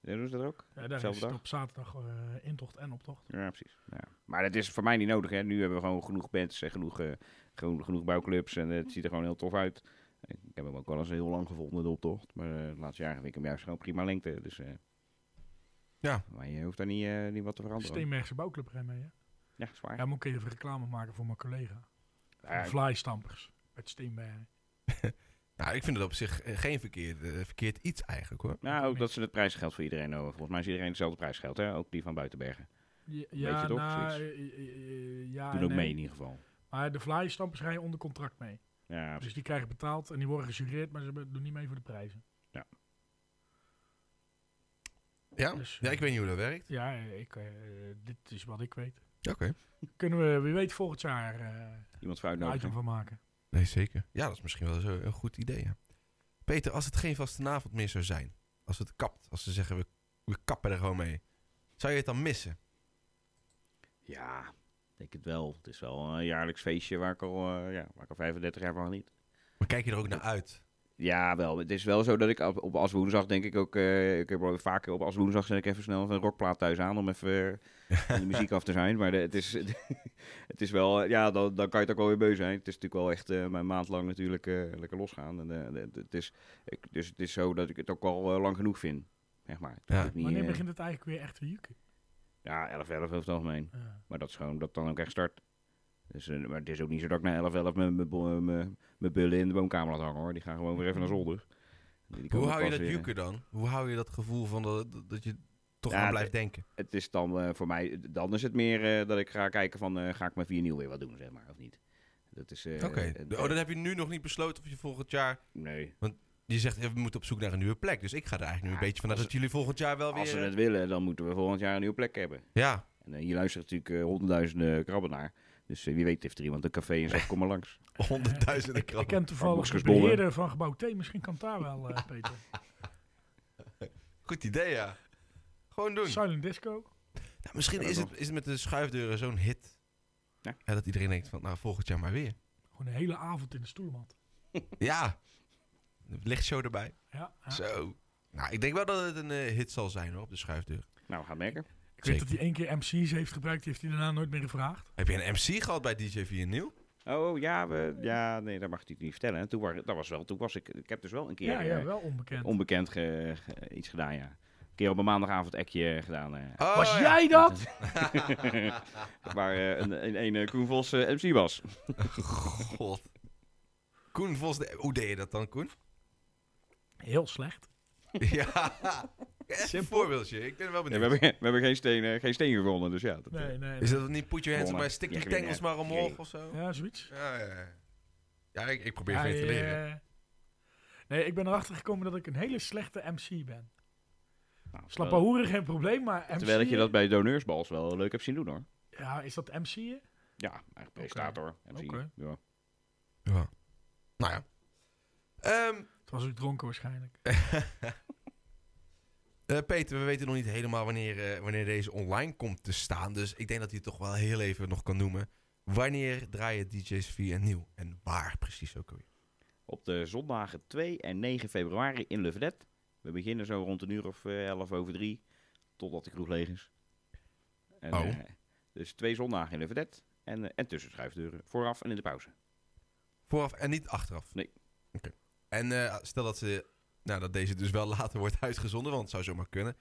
Speaker 1: Ja, doen ze dat ook?
Speaker 2: Ja, daar is
Speaker 1: Zelfde
Speaker 2: het
Speaker 1: dag?
Speaker 2: op zaterdag eh, intocht en optocht.
Speaker 1: Ja, precies. Ja. Maar dat is voor mij niet nodig. Hè. Nu hebben we gewoon genoeg bands en genoeg, eh, gewoon, genoeg bouwclubs. En eh, het ziet er gewoon heel tof uit. Ik heb hem ook wel eens heel lang gevonden, de optocht. Maar eh het laatste jaar vind ik hem juist gewoon prima lengte. Dus eh,
Speaker 4: Ja.
Speaker 1: maar je hoeft daar niet, eh, niet wat te veranderen.
Speaker 2: Steenbergse bouwclub rijdt mee, hè?
Speaker 1: Ja, zwaar.
Speaker 2: Ja, moet ik even reclame maken voor mijn collega.
Speaker 1: Ja,
Speaker 2: Van Flystampers uit Steenbergen.
Speaker 4: Nou, ik vind het op zich eh, geen verkeerd, eh, verkeerd iets eigenlijk hoor.
Speaker 1: nou, ook dat ze het prijsgeld voor iedereen hebben. Volgens mij is iedereen hetzelfde prijsgeld, hè? Ook die van Buitenbergen.
Speaker 2: Ja,
Speaker 1: Weet je toch,
Speaker 2: nou,
Speaker 1: zoiets?
Speaker 2: eh, eh, eh, ja
Speaker 1: Doe
Speaker 2: en
Speaker 1: ook mee
Speaker 2: nee.
Speaker 1: in ieder geval.
Speaker 2: Maar de Flystampers rijden onder contract mee.
Speaker 1: Ja,
Speaker 2: Dus die krijgen betaald en die worden gesureerd, maar ze be- doen niet mee voor de prijzen.
Speaker 4: Ja?
Speaker 2: Dus,
Speaker 4: ja, ik weet niet hoe dat werkt.
Speaker 2: Ja, eh, ik, eh, dit is wat ik weet.
Speaker 4: Oké.
Speaker 2: Kunnen we, wie weet, volgend jaar eh
Speaker 1: iemand voor
Speaker 2: een item
Speaker 1: uitnodigen.
Speaker 2: van maken.
Speaker 4: Nee, zeker. Ja, dat is misschien wel zo een goed idee. ja. Peter, als het geen vastenavond meer zou zijn, als het kapt, als ze zeggen we, we kappen er gewoon mee, zou je het dan missen?
Speaker 1: Ja, ik denk het wel. Het is wel een jaarlijks feestje waar ik al, eh, ja, waar ik al 35 jaar van niet.
Speaker 4: Maar kijk je er ook naar uit?
Speaker 1: Ja, wel. Het is wel zo dat ik op, op als woensdag denk ik ook... eh, ik heb wel vaker op als woensdag zet ik even snel een rockplaat thuis aan... om even eh, van de muziek af te zijn. Maar de- het, is, het is wel... eh, Ja, dan, dan kan je het ook wel weer beu zijn. Het is natuurlijk wel echt eh, mijn maand lang natuurlijk eh, lekker losgaan. En, eh, het- het is, ik- dus het is zo dat ik het ook al eh, lang genoeg vind. Zeg maar. Het is
Speaker 4: Ja.
Speaker 1: ook niet,
Speaker 2: Wanneer
Speaker 1: eh,
Speaker 2: begint het eigenlijk weer echt te Eh, jukken?
Speaker 1: Ja, 11, 11 over het algemeen.
Speaker 2: Ja.
Speaker 1: Maar dat is gewoon dat dan ook echt start. Dus, eh, maar het is ook niet zo dat ik na 11, 11 mijn- mijn bo- eh, mijn mijn bullen in de woonkamer laat hangen hoor. Die gaan gewoon weer even naar zolder. Die- die
Speaker 4: Hoe
Speaker 1: komen
Speaker 4: hou je
Speaker 1: pas
Speaker 4: dat
Speaker 1: weer-
Speaker 4: juker dan? Hoe hou je dat gevoel van dat, dat- dat je toch
Speaker 1: Ja,
Speaker 4: aan
Speaker 1: het-
Speaker 4: blijft denken?
Speaker 1: Het is dan eh, voor mij, dan is het meer eh, dat ik ga kijken van eh, ga ik met vier nieuw weer wat doen, zeg maar, of niet. Dat is. eh,
Speaker 4: Oké.
Speaker 1: eh,
Speaker 4: Oh, dan heb je nu nog niet besloten of je volgend jaar...
Speaker 1: nee.
Speaker 4: Je zegt, eh, we moeten op zoek naar een nieuwe plek. Dus ik ga er eigenlijk nu
Speaker 1: Ja,
Speaker 4: een beetje vanuit
Speaker 1: als-
Speaker 4: dat jullie volgend jaar wel
Speaker 1: Als
Speaker 4: weer...
Speaker 1: we
Speaker 4: eh,
Speaker 1: het willen, dan moeten we volgend jaar een nieuwe plek hebben.
Speaker 4: Ja,
Speaker 1: En eh, hier luisteren natuurlijk eh, honderdduizenden krabben naar. Dus eh, wie weet heeft er iemand een café en zegt kom maar langs.
Speaker 2: Ik,
Speaker 4: honderdduizenden
Speaker 2: ik
Speaker 4: krabben.
Speaker 2: ken toevallig de
Speaker 1: Varkensbollen.
Speaker 2: beheerder van gebouw T. Misschien kan het daar wel, eh, Peter.
Speaker 4: Goed idee, ja. Gewoon doen.
Speaker 2: Silent Disco.
Speaker 4: Nou, misschien
Speaker 1: Ja,
Speaker 4: is
Speaker 1: dat
Speaker 4: het, is het met de schuifdeuren zo'n hit.
Speaker 1: Ja.
Speaker 4: Ja, dat iedereen denkt van, nou, volgend jaar maar weer.
Speaker 2: Gewoon een hele avond in de stoelmat.
Speaker 4: Ja. Lichtshow erbij.
Speaker 2: Ja, ja.
Speaker 4: Zo. Nou, ik denk wel dat het een eh, hit zal zijn hoor, op de schuifdeur.
Speaker 1: Nou, we gaan merken.
Speaker 2: Ik weet dat hij
Speaker 4: Zeker.
Speaker 2: één keer MC's heeft gebruikt, die heeft hij daarna nooit meer gevraagd.
Speaker 4: Heb je een MC gehad bij DJ 4 Nieuw?
Speaker 1: Oh ja, we, ja, nee, dat mag ik natuurlijk niet vertellen. hè. Toen, wa- dat was wel, toen was ik, ik heb dus wel een keer
Speaker 2: Ja, ja,
Speaker 1: eh,
Speaker 2: wel onbekend.
Speaker 1: onbekend ge- ge- iets gedaan, ja. Een keer op een maandagavond ekje gedaan. eh.
Speaker 4: Oh,
Speaker 2: Was
Speaker 4: ja.
Speaker 2: jij dat?
Speaker 1: Waar eh, een, een, een eh, Koen Vos eh, MC was.
Speaker 4: God. Koen Vos, de- hoe deed je dat dan, Koen?
Speaker 2: Heel slecht.
Speaker 4: ja. Even een voorbeeldje, ik ben wel
Speaker 1: Ja,
Speaker 4: benieuwd.
Speaker 1: we, hebben, we hebben geen steen, eh, geen steen gevonden, dus ja. Dat, eh,
Speaker 2: Nee, nee.
Speaker 4: Is dat niet put your hands op
Speaker 1: Gewonnen.
Speaker 4: my sticky
Speaker 1: Ja, gewonnen,
Speaker 4: tangles
Speaker 1: ja.
Speaker 4: maar omhoog
Speaker 1: Ja.
Speaker 4: of zo?
Speaker 2: Ja, zoiets.
Speaker 4: Ja, ja, ja. Ja, ik, ik probeer
Speaker 2: Ja,
Speaker 4: van je te leren.
Speaker 2: eh, nee, ik ben erachter gekomen dat ik een hele slechte MC ben.
Speaker 1: nou,
Speaker 4: Oh.
Speaker 2: Slappe
Speaker 1: terwijl-
Speaker 2: hoeren, geen probleem, maar MC...
Speaker 1: Terwijl ik je dat bij doneursbals wel leuk hebt zien doen hoor.
Speaker 2: Ja, is dat MC'en?
Speaker 1: Ja, eigenlijk presentator. MC.
Speaker 2: Oké.
Speaker 1: Ja.
Speaker 4: Ja. Nou ja. Ehm,
Speaker 2: Het was ook dronken waarschijnlijk.
Speaker 4: eh, Peter, we weten nog niet helemaal wanneer, eh, wanneer deze online komt te staan. Dus ik denk dat hij het toch wel heel even nog kan noemen. Wanneer draaien DJ's via nieuw? En waar precies ook alweer?
Speaker 1: Op de zondagen 2 en 9 februari in Lufvedet. We beginnen zo rond een uur of eh, 11 over 3. Totdat de kroeg leeg is. En,
Speaker 4: Oh.
Speaker 1: eh, dus twee zondagen in Lufvedet. En, eh, en tussen schuifdeuren. Vooraf en in de pauze.
Speaker 4: Vooraf en niet achteraf?
Speaker 1: Nee.
Speaker 4: Oké. En eh, stel dat, ze, nou, dat deze dus wel later wordt uitgezonden, want het zou zomaar kunnen.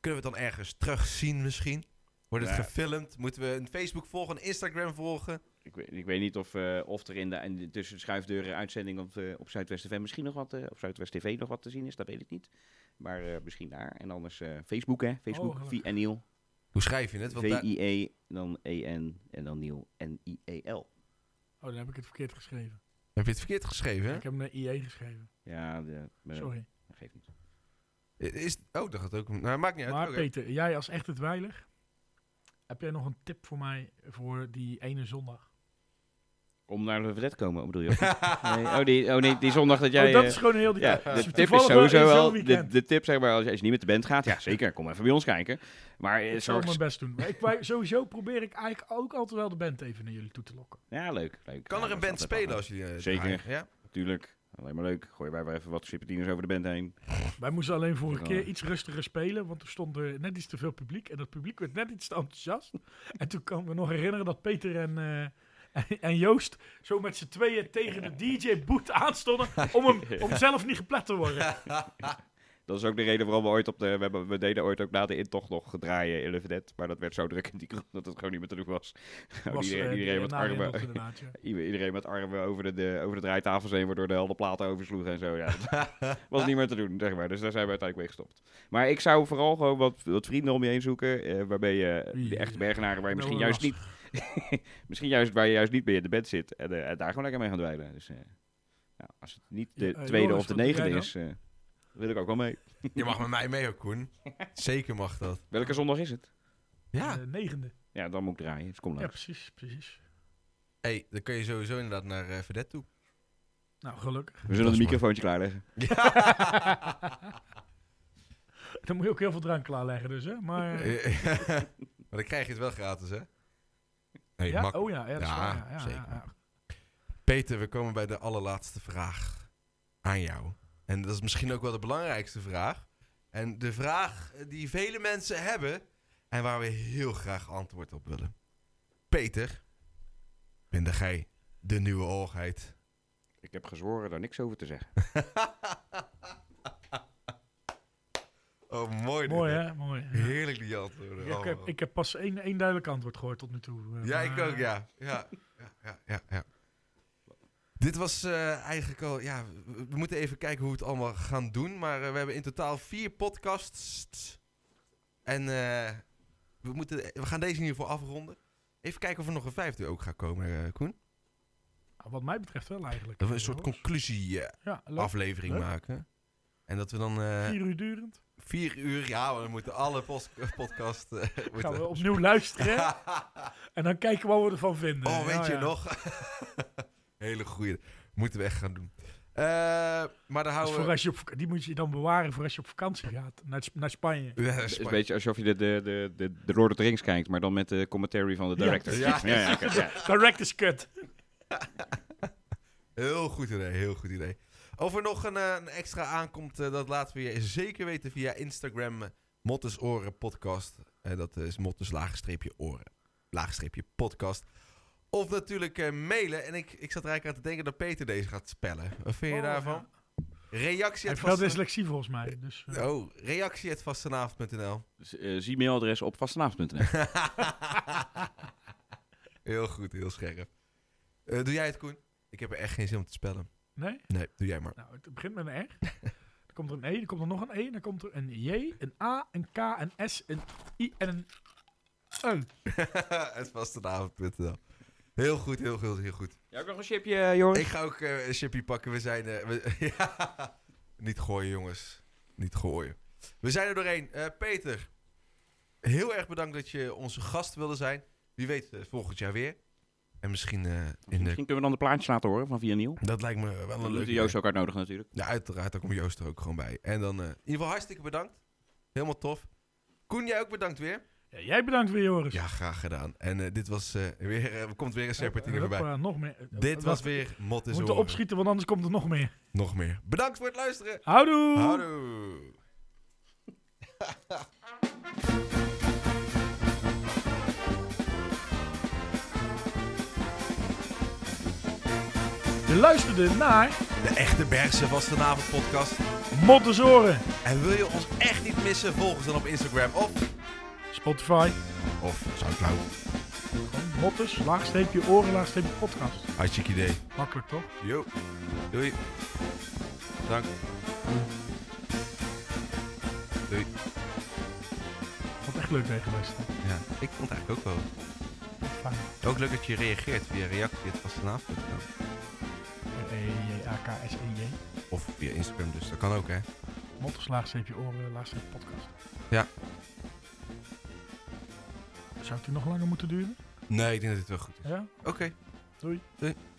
Speaker 4: Kunnen we het dan ergens terugzien misschien? Wordt het
Speaker 1: Nou ja.
Speaker 4: gefilmd? Moeten we een Facebook volgen, een Instagram volgen?
Speaker 1: Ik weet, ik weet niet of, eh, of er in de, in de tussen de schuifdeuren uitzending op, eh, op Zuidwest TV misschien nog wat, eh, op Zuidwest TV nog wat te zien is, dat weet ik niet. Maar eh, misschien daar. En anders eh, Facebook, hè? Facebook,
Speaker 2: Oh,
Speaker 1: Vie en Niel.
Speaker 4: Hoe schrijf je het? Want daar-
Speaker 1: V-I-E, dan E-N en dan Niel, E N-I-E-L.
Speaker 2: Oh, dan heb ik het verkeerd geschreven.
Speaker 4: heb je het verkeerd geschreven? hè?
Speaker 2: Ik heb hem naar IE geschreven.
Speaker 1: Ja, de, me-
Speaker 2: Sorry.
Speaker 1: dat geeft niet.
Speaker 4: Is, oh, dat gaat ook. Nou, maakt niet uit.
Speaker 2: maar
Speaker 4: Oké.
Speaker 2: Peter, jij als echt het weilig, heb jij nog een tip voor mij voor die ene zondag?
Speaker 1: Om naar de vedet te komen, bedoel je? ook? nee, oh, die, oh nee, die zondag dat jij...
Speaker 2: oh, dat
Speaker 1: eh,
Speaker 2: is gewoon heel die
Speaker 1: ja,
Speaker 2: tijd. Dat
Speaker 1: de tip is
Speaker 2: toevallig wel
Speaker 1: sowieso
Speaker 2: in zo'n
Speaker 1: wel. De,
Speaker 2: weekend.
Speaker 1: de tip, zeg maar, als je, als je niet met de band gaat, ja zeker, kom even bij ons kijken. Maar eh,
Speaker 2: Ik zal
Speaker 1: zorg.
Speaker 2: mijn best doen. Maar ik, wij- sowieso probeer ik eigenlijk ook altijd wel de band even naar jullie toe te lokken.
Speaker 1: Ja, leuk. leuk.
Speaker 4: Kan
Speaker 1: Ja,
Speaker 4: er een
Speaker 1: dat is
Speaker 4: band
Speaker 1: altijd wel
Speaker 4: spelen als jullie. eh,
Speaker 1: Zeker.
Speaker 4: draaien? Ja?
Speaker 1: Tuurlijk. Alleen maar leuk. Gooien wij weer even wat chippetines over de band heen.
Speaker 2: Wij moesten alleen vorige
Speaker 1: Ja.
Speaker 2: keer iets rustiger spelen, want er stond eh, net iets te veel publiek. En dat publiek werd net iets te enthousiast. En toen kan ik me nog herinneren dat Peter en, eh, en, en Joost zo met z'n tweeën tegen de DJ-boot aanstonden om, hem, om zelf niet geplet te worden.
Speaker 1: Dat is ook de reden waarom we ooit op de... We, hebben, we deden ooit ook na de intocht nog draaien in Lufedet. Maar dat werd zo druk in die kroeg dat het gewoon niet meer te doen was.
Speaker 2: Was,
Speaker 1: iedereen,
Speaker 2: eh, die-
Speaker 1: iedereen met
Speaker 2: na de
Speaker 1: armen...
Speaker 2: intocht inderdaad, ja.
Speaker 1: Ieder- Iedereen met armen over de, de, over de draaitafels heen, waardoor de hele platen oversloegen en zo. Ja, dat was niet meer te doen, zeg maar. Dus daar zijn we uiteindelijk mee gestopt. Maar ik zou vooral gewoon wat, wat vrienden om je heen zoeken, eh, waarbij je de echte bergenaren, waar je
Speaker 2: Nou,
Speaker 1: misschien juist, niet,
Speaker 2: lastig.
Speaker 1: misschien juist, waar je juist niet bij in de bed zit. En, eh, en daar gewoon lekker mee gaan dweilen. Dus eh, ja, als het niet de
Speaker 2: Ja, eh,
Speaker 1: tweede
Speaker 2: Joris,
Speaker 1: of de
Speaker 2: wat doe
Speaker 1: negende
Speaker 2: jij
Speaker 1: is, eh, wil ik ook wel mee.
Speaker 4: Je mag met mij mee ook, Koen. Zeker mag dat.
Speaker 1: Welke zondag is het?
Speaker 4: Ja.
Speaker 2: De eh, negende.
Speaker 1: Ja, dan moet ik draaien. Dus kom
Speaker 2: Ja,
Speaker 1: langs.
Speaker 2: precies, precies.
Speaker 4: hey, dan kun je sowieso inderdaad naar eh Verdet toe.
Speaker 2: Nou, gelukkig.
Speaker 1: We zullen
Speaker 4: is
Speaker 1: een
Speaker 4: mooi.
Speaker 1: microfoontje klaarleggen.
Speaker 2: Dan moet je ook heel veel drank klaarleggen dus, hè. Maar, eh,
Speaker 4: maar dan krijg je het wel gratis, hè? Hey,
Speaker 2: ja?
Speaker 4: mak-
Speaker 2: Oh ja, ja, dat is
Speaker 4: Ja,
Speaker 2: waar, ja, ja,
Speaker 4: zeker.
Speaker 2: ja, ja.
Speaker 4: Peter, we komen bij de allerlaatste vraag aan jou. En dat is misschien ook wel de belangrijkste vraag. En de vraag die vele mensen hebben en waar we heel graag antwoord op willen. Peter, ben jij de nieuwe oogheid?
Speaker 1: Ik heb gezworen daar niks over te zeggen.
Speaker 4: oh, mooi. dit,
Speaker 2: Mooi, hè. Mooi. ja.
Speaker 4: Heerlijk die antwoorden. Oh.
Speaker 2: Ja, ik, heb,
Speaker 4: allemaal.
Speaker 2: ik heb pas één, één duidelijk antwoord gehoord tot nu toe. eh,
Speaker 4: Ja, ik
Speaker 2: maar-
Speaker 4: ook, ja. Ja, ja, ja, ja. ja. Dit was eh, eigenlijk al... Ja, we we moeten even kijken hoe we het allemaal gaan doen. Maar eh, we hebben in totaal vier podcasts. En eh, we, moeten, we gaan deze in ieder geval afronden. Even kijken of er nog een vijfde ook gaat komen, eh, Koen.
Speaker 2: Nou, Wat mij betreft wel eigenlijk.
Speaker 4: Dat we
Speaker 2: eh,
Speaker 4: een soort
Speaker 2: Joris.
Speaker 4: conclusie-aflevering
Speaker 2: Ja, leuk. Leuk.
Speaker 4: maken. En dat we dan eh,
Speaker 2: Vier uur durend.
Speaker 4: vier uur... Ja, we moeten alle pos- podcasts... eh,
Speaker 2: Gaan we
Speaker 4: moeten-
Speaker 2: opnieuw luisteren. en dan kijken wat we ervan vinden. Nou
Speaker 4: Oh, weet
Speaker 2: Ja,
Speaker 4: je
Speaker 2: ja.
Speaker 4: nog? Hele goeie. Moeten we echt gaan doen. Eh, maar dan
Speaker 2: Dat is
Speaker 4: houden
Speaker 2: Dus voor
Speaker 4: we...
Speaker 2: als je op vak- die moet je dan bewaren voor als je op vakantie gaat. Naar, Sp- naar Spanje.
Speaker 4: Ja,
Speaker 1: Het is een
Speaker 4: Spanje.
Speaker 1: beetje alsof je de, de, de, de, de Lord of the Rings kijkt, maar dan met de commentary van de
Speaker 2: Ja.
Speaker 1: director.
Speaker 4: Ja.
Speaker 1: ja, ja, oké, ja.
Speaker 2: Director's cut.
Speaker 4: Heel goed idee, heel goed idee. Of er nog een, eh, een extra aankomt, eh, dat laten we je zeker weten via Instagram. eh, Mottes Oren Podcast. Eh, dat is Mottes laagstreepje oren, laagstreepje podcast. Of natuurlijk eh, mailen. En ik, ik zat er eigenlijk aan te denken dat Peter deze gaat spellen. Wat vind je
Speaker 2: Oh,
Speaker 4: daarvan?
Speaker 2: ja.
Speaker 4: Reactie
Speaker 2: Hij
Speaker 4: het
Speaker 2: heeft wel dyslexie volgens mij. Dus, eh,
Speaker 4: Oh, reactie het vastenavond.nl.
Speaker 1: Dus, eh, zie mailadres op vastenavond.nl.
Speaker 4: heel goed, heel scherp. Eh, doe jij het, Koen? Ik heb er echt geen zin om te spellen.
Speaker 2: Nee?
Speaker 4: Nee, doe jij maar.
Speaker 2: Nou, het begint met een R. dan komt er een E, dan komt er nog een E, dan komt er een J, een A, een K, een S, een I en een E.
Speaker 4: het vastenavond.nl. Heel goed, heel goed, heel goed.
Speaker 1: Jij ook nog een chipje, Joris?
Speaker 4: Ik ga ook eh, een chipje pakken. We zijn... eh, we- ja. Niet gooien, jongens. Niet gooien. We zijn er doorheen. Eh, Peter, heel erg bedankt dat je onze gast wilde zijn. Wie weet eh, volgend jaar weer. En misschien eh, in de...
Speaker 1: Misschien kunnen we dan de plaatjes laten horen van Via Nieuw.
Speaker 4: Dat lijkt me wel
Speaker 1: Dan
Speaker 4: een
Speaker 1: moet
Speaker 4: leuke...
Speaker 1: je Joost ook uitnodigen natuurlijk.
Speaker 4: Ja, uiteraard. Daar komt Joost er ook gewoon bij. En dan eh, in ieder geval hartstikke bedankt. Helemaal tof. Koen, jij ook bedankt weer.
Speaker 2: Ja, jij bedankt weer, Joris.
Speaker 4: Ja, graag gedaan. En eh, dit was eh, weer... eh, er komt weer een serpentine
Speaker 2: Hoppa,
Speaker 4: voorbij.
Speaker 2: nog meer.
Speaker 4: Dit was
Speaker 2: Wacht,
Speaker 4: weer Mot
Speaker 2: We
Speaker 4: is
Speaker 2: moeten
Speaker 4: Oren.
Speaker 2: opschieten, want anders komt er nog meer.
Speaker 4: Nog meer. Bedankt voor het luisteren.
Speaker 2: Houdoe!
Speaker 4: Houdoe.
Speaker 2: Je luisterde naar
Speaker 4: De echte Bergse was vanavond podcast.
Speaker 2: Mottezoren,
Speaker 4: En wil je ons echt niet missen, volg ons dan op Instagram of...
Speaker 2: Spotify,
Speaker 4: Of Soundcloud.
Speaker 2: gewoon Mottes, laagsteepje oren, laagsteepje podcast.
Speaker 4: Hartstikke idee.
Speaker 2: Makkelijk toch?
Speaker 4: Yo. Doei. Dank. Doei.
Speaker 2: Wat echt leuk mee geweest. hè?
Speaker 4: Ja, ik vond het eigenlijk ook wel...
Speaker 2: Fijn.
Speaker 4: Ook leuk dat je reageert via reactie het vastenavond.
Speaker 2: E R-E-J-A-K-S-E-J.
Speaker 4: Of via Instagram dus, dat kan ook hè.
Speaker 2: Mottes, laagsteepje oren, laagsteepje podcast.
Speaker 4: Ja.
Speaker 2: Zou het die nog langer moeten duren?
Speaker 4: Nee, ik denk dat dit wel goed is.
Speaker 2: Ja?
Speaker 4: Oké.
Speaker 2: Doei.
Speaker 4: Doei.